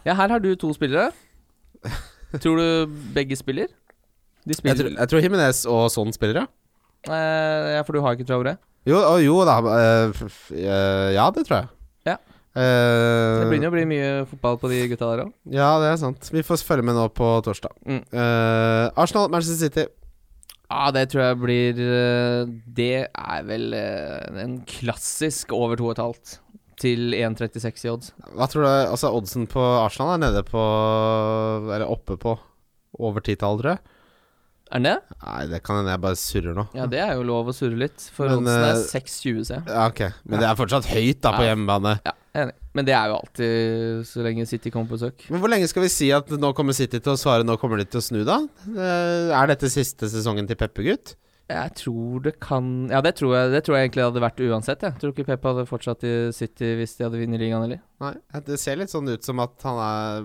Speaker 2: Ja, her har du to spillere. Tror du begge spiller? De
Speaker 3: Jeg
Speaker 2: spiller
Speaker 3: tror, jeg tror Jimenez og sånn spiller, ja.
Speaker 2: Eh, Ja, for du har ikke Traore.
Speaker 3: Jo, å, jo da. eh, f- f- eh, ja, det tror jeg.
Speaker 2: Ja.
Speaker 3: Eh,
Speaker 2: Det begynner jo å bli mye fotball på de gutta der òg.
Speaker 3: ja, det er sant. Vi får følge med nå på torsdag.
Speaker 2: Mm.
Speaker 3: Eh, Arsenal, Manchester City.
Speaker 2: Ja, det tror jeg blir eh, Det er vel eh, en klassisk over 2,5 til 1,36 i odds.
Speaker 3: Hva tror du Altså, oddsen på Arsenal er nede på Eller oppe på over titall, tror jeg.
Speaker 2: Er den det?
Speaker 3: Nei, det kan hende jeg bare surrer nå.
Speaker 2: Ja, det er jo lov å surre litt, for
Speaker 3: Men,
Speaker 2: oddsen er
Speaker 3: eh,
Speaker 2: 6,20, ser jeg.
Speaker 3: Ja, ok. Men det er fortsatt høyt, da, på
Speaker 2: Ja.
Speaker 3: hjemmebane.
Speaker 2: Ja, jeg er enig. Men det er jo alltid så lenge City kommer på besøk.
Speaker 3: Men hvor lenge skal vi si at nå kommer City til å svare, nå kommer de til å snu, da? Eh, Er dette siste sesongen til Peppegutt?
Speaker 2: Jeg tror det kan Ja, det tror jeg, det tror jeg egentlig det hadde vært uansett. Jeg tror ikke Pep hadde fortsatt i City hvis de hadde vunnet ligaen heller.
Speaker 3: Nei, det ser litt sånn ut som at han er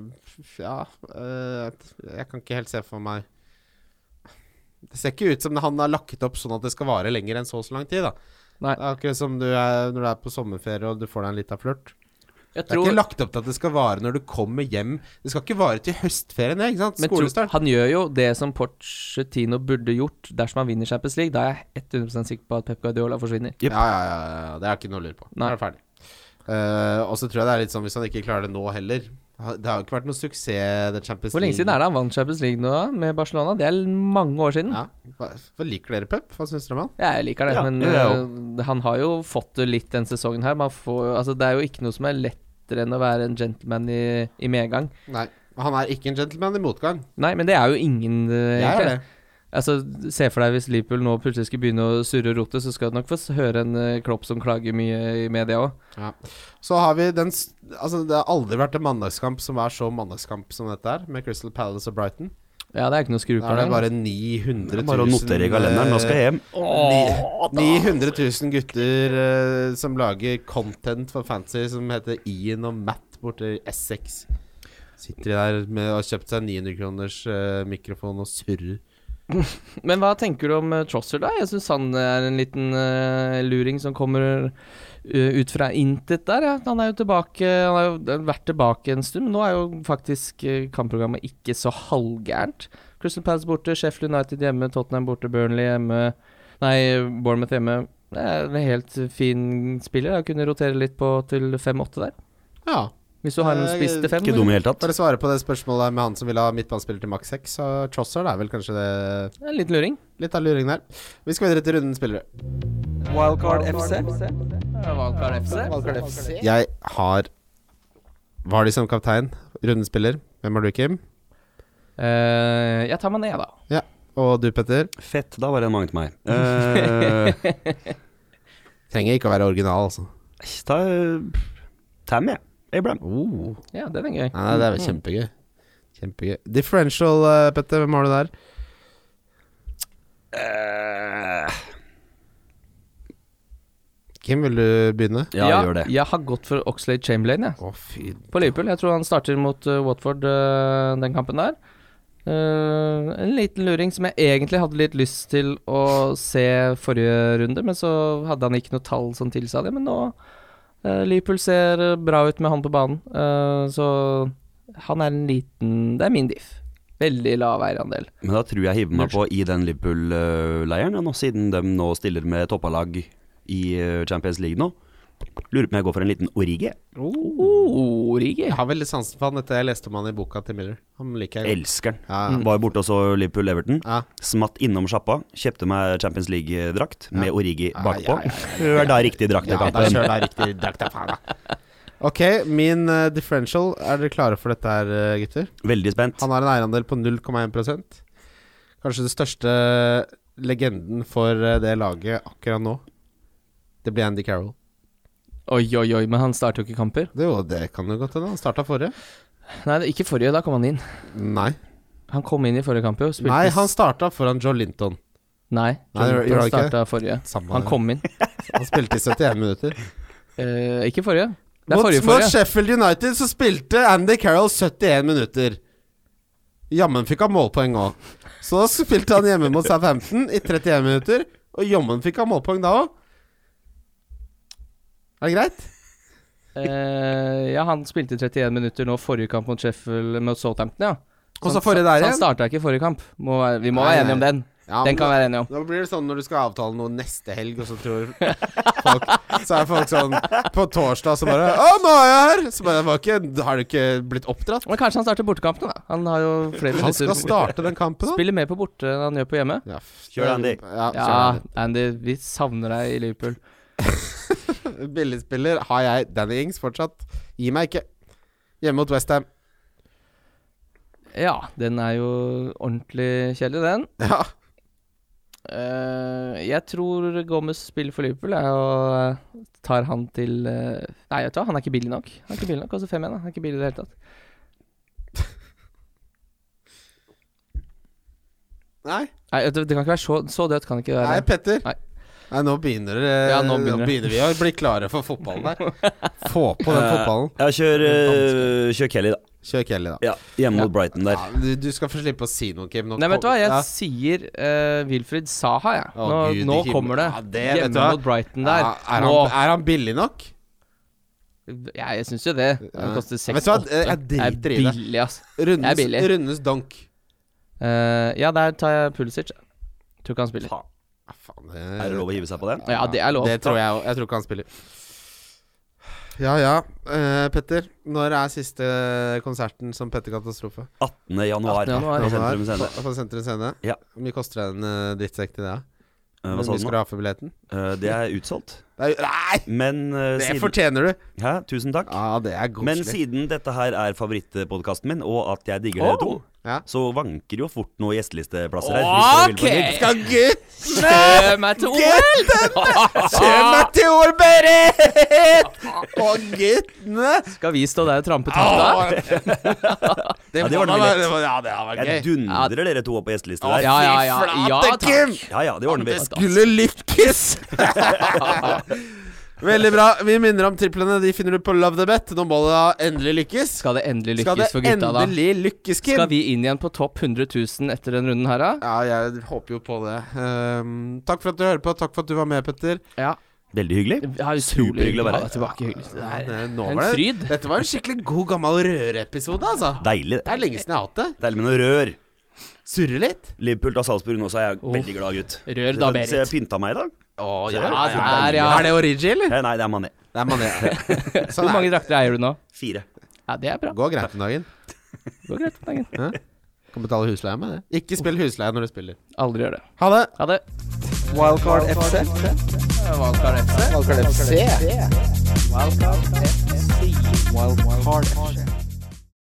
Speaker 3: Ja, eh, jeg kan ikke helt se for meg Det ser ikke ut som han har lakket opp sånn at det skal vare lenger enn så og så lang tid, da.
Speaker 2: Nei.
Speaker 3: Det er akkurat som du er, når du er på sommerferie og du får deg en lita flørt.
Speaker 2: Jeg
Speaker 3: Det er ikke
Speaker 2: tror,
Speaker 3: lagt opp til at det skal vare når du kommer hjem. Det skal ikke vare til høstferien, ikke sant?
Speaker 2: men tro,
Speaker 3: Skolestart.
Speaker 2: han gjør jo det som Porcetino burde gjort dersom han vinner Champions League. Da er jeg 100 sikker på at Pep Guardiola forsvinner.
Speaker 4: Jep.
Speaker 3: Ja, ja, ja, ja, ja. Det er ikke noe å lure på.
Speaker 2: Nei.
Speaker 3: Da er det ferdig. Eh, og så tror jeg det er litt sånn hvis han ikke klarer det nå heller ha- Det har jo ikke vært noe suksess, det Champions
Speaker 2: Hvor lenge siden er det han vant Champions League nå, da, med Barcelona? Det er mange år siden.
Speaker 3: Ja. Hva, hva liker dere Pep? Hva syns dere om han?
Speaker 2: Jeg liker det,
Speaker 4: Ja,
Speaker 2: men
Speaker 4: jeg
Speaker 2: øh, han har jo fått det litt den sesongen her. Man får, jo- altså, det er jo ikke noe som er lettere enn å være en gentleman i, i medgang.
Speaker 3: Nei. Han er ikke en gentleman i motgang.
Speaker 2: Nei, men det er jo ingen, eh,
Speaker 3: Jeg er
Speaker 2: egentlig.
Speaker 3: det.
Speaker 2: Altså, Se for deg hvis Liverpool nå plutselig skulle begynne å surre og rote, så skal du nok få s- høre en eh, Klopp som klager mye i media òg.
Speaker 3: Så har vi den s- Altså, det har aldri vært en mandagskamp som er så mandagskamp som dette her, med Crystal Palace og Brighton.
Speaker 2: Ja, det er ikke noe å skru på
Speaker 3: Da er det
Speaker 2: engang.
Speaker 3: bare 900
Speaker 4: Det er
Speaker 3: 000
Speaker 4: bare å notere i kalenderen. Nå skal jeg hjem.
Speaker 3: eh, Ni- 900 000 gutter eh, som lager content for fancy som heter Ian og Matt borte i Essex. Sitter de der med og har kjøpt seg 900 kroners eh, mikrofon og surrer.
Speaker 2: Men hva tenker du om eh, Trossard, da? Jeg syns han er en liten eh, luring som kommer eh, ut fra intet der, ja. Han er jo tilbake Han har jo vært tilbake en stund, men nå er jo faktisk eh, kampprogrammet ikke så halvgærent. Crystal Palace borte, Sheffield United hjemme, Tottenham borte, Burnley hjemme Nei, Bournemouth hjemme. Det er en helt fin spiller. Jeg kunne rotere litt på til 5-8 der.
Speaker 3: Ja.
Speaker 2: Hvis du har en
Speaker 3: Eh,
Speaker 2: spiss til 5.
Speaker 4: Ikke dum i det hele tatt.
Speaker 3: Bare svare på det spørsmålet med han som ville ha midtbanespiller til maks 6. Så Trossard er vel kanskje det
Speaker 2: En liten luring.
Speaker 3: litt av luring der. Vi skal videre til runden spillere.
Speaker 1: Wildcard FC.
Speaker 2: Valgkar FC.
Speaker 1: Wildcard FC.
Speaker 3: Jeg har Vardy som kaptein, runden spiller. Hvem har du, Kim?
Speaker 2: Eh, jeg tar meg ned, da.
Speaker 3: Og du, Petter?
Speaker 4: Fett, da var det mange til meg. Eh,
Speaker 3: Trenger ikke å være original, altså.
Speaker 4: ta eh, Tammy, jeg. Abraham.
Speaker 3: Oh.
Speaker 2: Ja, den er gøy.
Speaker 3: Nei, nei, det er vel kjempegøy. Kjempegøy. Differential, eh, Petter, hvem har du der?
Speaker 4: Eh,
Speaker 3: Kim, vil du begynne?
Speaker 4: ja, gjør det.
Speaker 2: Jeg har gått for Oxlade Chamberlain, jeg.
Speaker 3: Å, fy
Speaker 2: På Liverpool. Jeg tror han starter mot eh, Watford eh, den kampen der. Eh, en liten luring som jeg egentlig hadde litt lyst til å se forrige runde, men så hadde han ikke noe tall som tilsa det. Men nå eh, Liverpool ser eh, bra ut med han på banen, Eh, så han er en liten Det er min diff. Veldig lav eierandel.
Speaker 4: Men da tror jeg hiver meg på i den Liverpool-leiren, ja, nå, siden de nå stiller med toppalag i eh, Champions League nå. Lurer på om jeg går for en liten Origi.
Speaker 2: Oh, Origi.
Speaker 3: Jeg har veldig sansen for han etter jeg leste om han i boka til Miller. Han liker jeg. godt.
Speaker 4: Elsker den.
Speaker 3: Ja, ja.
Speaker 4: Var jo borte og så Liverpool-Everton.
Speaker 3: Ja.
Speaker 4: Smatt innom sjappa, kjøpte meg Champions League-drakt med Origi bakpå.
Speaker 3: ja,
Speaker 4: Hør da riktig drakt i
Speaker 3: Ja, der
Speaker 4: kampen.
Speaker 3: kjører deg riktig drakt, da, faen, da. Ok, min eh, differential. Er dere klare for dette her, eh, gutter?
Speaker 4: Veldig spent.
Speaker 3: Han har en eierandel på 0,1 Kanskje den største legenden for eh, det laget akkurat nå. Det blir Andy Carroll.
Speaker 2: Oi, oi, oi, men han starter jo ikke kamper.
Speaker 3: Det, er jo, det kan jo godt hende. Han starta forrige.
Speaker 2: Nei, ikke forrige, da kom han inn.
Speaker 3: Nei.
Speaker 2: Han kom inn i forrige kamp, jo. spilte
Speaker 3: Nei, han starta foran Joe Linton.
Speaker 2: Nei,
Speaker 3: Nei, det gjør- gjør
Speaker 2: han
Speaker 3: han ikke det?
Speaker 2: starta forrige.
Speaker 3: Samme
Speaker 2: Han
Speaker 3: det.
Speaker 2: kom inn.
Speaker 3: Han spilte i 71 minutter.
Speaker 2: Eh, ikke forrige. Det er
Speaker 3: Mot,
Speaker 2: forrige
Speaker 3: mot
Speaker 2: forrige.
Speaker 3: Sheffield United så spilte Andy Carroll 71 minutter. Jammen fikk han målpoeng òg. Så spilte han hjemme mot Southampton i 31 minutter, og jammen fikk han målpoeng da òg. Er det greit?
Speaker 2: Eh, ja, han spilte 31 minutter nå forrige kamp mot Sheffield mot Southampton, ja.
Speaker 3: Og så
Speaker 2: han-
Speaker 3: forrige der
Speaker 2: Han
Speaker 3: igjen.
Speaker 2: starta ikke forrige kamp. Må, være- vi må
Speaker 3: Nei,
Speaker 2: være enige
Speaker 3: nei.
Speaker 2: om den.
Speaker 3: Ja,
Speaker 2: Den
Speaker 3: men
Speaker 2: kan vi være enige om.
Speaker 3: Da blir det sånn når du skal avtale noe neste helg, og så tror folk Så er folk sånn på torsdag så bare 'Å, nå er jeg her!' Så bare var ikke, Har du ikke blitt oppdratt?
Speaker 2: Men kanskje han starter bortekampene, da. Han har jo flere
Speaker 3: Han
Speaker 2: minutter
Speaker 3: skal
Speaker 2: på borte.
Speaker 3: starte den kampen, da.
Speaker 2: Spiller mer på borte enn han gjør på hjemme.
Speaker 3: Ja,
Speaker 4: Kjør, Andy.
Speaker 3: Ja, kjør
Speaker 2: Ja,
Speaker 3: Andy.
Speaker 2: Andy, vi savner deg i Liverpool.
Speaker 3: Billigspiller har jeg Danny Ings fortsatt. Gi meg ikke. Hjemme mot Westham.
Speaker 2: Ja, den er jo ordentlig kjedelig, den.
Speaker 3: Ja.
Speaker 2: Eh, jeg tror Gomez spiller for Liverpool, jeg, og eh, tar han til eh, Nei, vet du hva, han er ikke billig nok. Han er ikke billig nok, Koster 5-1, da. han er ikke billig i det hele tatt.
Speaker 3: Nei,
Speaker 2: Nei, vet du, det kan ikke være så, så dødt, kan det ikke
Speaker 3: nei
Speaker 2: være.
Speaker 3: Petter.
Speaker 2: Nei.
Speaker 3: Nei, nå begynner, det-
Speaker 2: Ja, nå begynner det.
Speaker 3: vi å bli klare for fotballen her. Få på den fotballen.
Speaker 4: Ja, kjør, eh, kjør Kelly, da.
Speaker 3: Kjør Kelly, da.
Speaker 4: Ja, hjemme mot Brighton der.
Speaker 3: Ja, du, du skal få slippe å si noe, Kim. Nå
Speaker 2: Nei, vet du hva, jeg
Speaker 3: ja.
Speaker 2: sier eh, Wilfried Saha, jeg.
Speaker 3: Å,
Speaker 2: Nå,
Speaker 3: Gud i
Speaker 2: nå
Speaker 3: himmelen.
Speaker 2: kommer det.
Speaker 3: Ja, det vet du
Speaker 2: Hjemme
Speaker 3: hva.
Speaker 2: mot Brighton der.
Speaker 3: Ja, er, han,
Speaker 2: nå.
Speaker 3: er han billig nok?
Speaker 2: Ja, jeg syns jo det. Den koster
Speaker 3: Ja, vet du hva,
Speaker 2: 6-8.
Speaker 3: jeg driter i det.
Speaker 2: billig, ass.
Speaker 3: Rundens,
Speaker 2: billig.
Speaker 3: rundens donk.
Speaker 2: Eh, ja, der tar jeg Pulisic. Tror ikke han spiller.
Speaker 4: Faen,
Speaker 3: Ja, faen,
Speaker 4: Er det lov å hive seg på den?
Speaker 2: Ja, det er lov.
Speaker 3: Det tror jeg òg. Jeg tror ikke han spiller. Ja ja. Eh, Petter, når er siste konserten som Petter Katastrofe?
Speaker 4: 18. januar.
Speaker 2: 18. januar.
Speaker 4: På
Speaker 3: Januar,
Speaker 4: Sentrum Scene.
Speaker 3: på- på Sentrum Scene?
Speaker 4: Ja.
Speaker 3: Hvor mye koster en eh, drittsekk til det? da?
Speaker 4: Eh,
Speaker 3: Hvor
Speaker 4: Hva sa
Speaker 3: mye
Speaker 4: du
Speaker 3: skal
Speaker 4: nå?
Speaker 3: du ha for billetten?
Speaker 4: Eh, Det er utsolgt.
Speaker 3: Det er, nei!
Speaker 4: Men eh,
Speaker 3: Det
Speaker 4: siden
Speaker 3: fortjener du.
Speaker 4: Hæ, Tusen takk.
Speaker 3: Ja, det er
Speaker 4: Men
Speaker 3: koselig.
Speaker 4: siden dette her er favorittpodkasten min, og at jeg digger dere to,
Speaker 2: Oh.
Speaker 3: Ja.
Speaker 4: så vanker jo fort noen gjestelisteplasser her. hvis dere vil på
Speaker 2: Ok.
Speaker 4: en hit.
Speaker 3: Skal gutt
Speaker 2: Kjør meg til OL!
Speaker 3: kjøre meg til Ol Berit! Og guttene! Ah.
Speaker 2: Skal vi stå der og trampe trakta?
Speaker 3: Det
Speaker 4: Ja, det
Speaker 3: må
Speaker 4: var
Speaker 3: da
Speaker 4: noe
Speaker 3: være det var- Ja, det var
Speaker 4: Jeg
Speaker 3: gøy.
Speaker 4: dundrer dere to opp på gjesteliste
Speaker 2: Ja,
Speaker 4: der.
Speaker 2: ja, ja. ja
Speaker 3: Flate,
Speaker 2: takk.
Speaker 3: Kim!
Speaker 4: Ja ja, det ordner vi.
Speaker 3: Skulle lykkes! Veldig bra. Vi minner om triplene. De finner du på Love the Bet. Nå må det da endelig lykkes.
Speaker 2: Skal det endelig
Speaker 3: Skal det
Speaker 2: lykkes for gutta, da?
Speaker 3: endelig lykkes, Kim?
Speaker 2: Skal vi inn igjen på topp 100 000 etter den runden her, da?
Speaker 3: Ja, jeg håper jo på det. Ehm, takk for at du hører på. Takk for at du var med, Petter.
Speaker 2: Ja.
Speaker 4: Veldig hyggelig.
Speaker 2: Det er utrolig
Speaker 4: Superhyggelig å være
Speaker 2: hyggelig å
Speaker 4: her.
Speaker 2: være tilbake. Hyggelig. Det er
Speaker 3: Det- nå
Speaker 2: en
Speaker 3: var det-
Speaker 2: fryd.
Speaker 3: Dette var en skikkelig god gammel røreepisode, altså.
Speaker 4: Deilig.
Speaker 3: Det er lenge siden jeg har hatt det.
Speaker 4: Deilig med noe rør.
Speaker 3: Surre litt.
Speaker 4: Liverpool tar Salzburg nå, så er jeg veldig glad, gutt.
Speaker 2: Rør da, Berit.
Speaker 4: Så jeg pynta meg i dag.
Speaker 3: Å,
Speaker 4: ja, ja,
Speaker 2: ja.
Speaker 3: Er det origi, eller?
Speaker 4: Eh, Nei, det er Mané.
Speaker 3: Det er mané. Sånn
Speaker 2: Hvor
Speaker 3: er
Speaker 2: mange
Speaker 3: det.
Speaker 2: drakter eier du nå?
Speaker 4: Fire.
Speaker 2: Ja, det er bra.
Speaker 3: Går greit om dagen.
Speaker 2: Det går greit. Tangen.
Speaker 3: Kan betale husleie med det. Ikke spill husleie når du spiller.
Speaker 2: Aldri gjør det.
Speaker 3: Ha det.
Speaker 2: Ha det.
Speaker 1: Wildcard FC. Wildcard FC. Wildcard FC. Wildcard FC.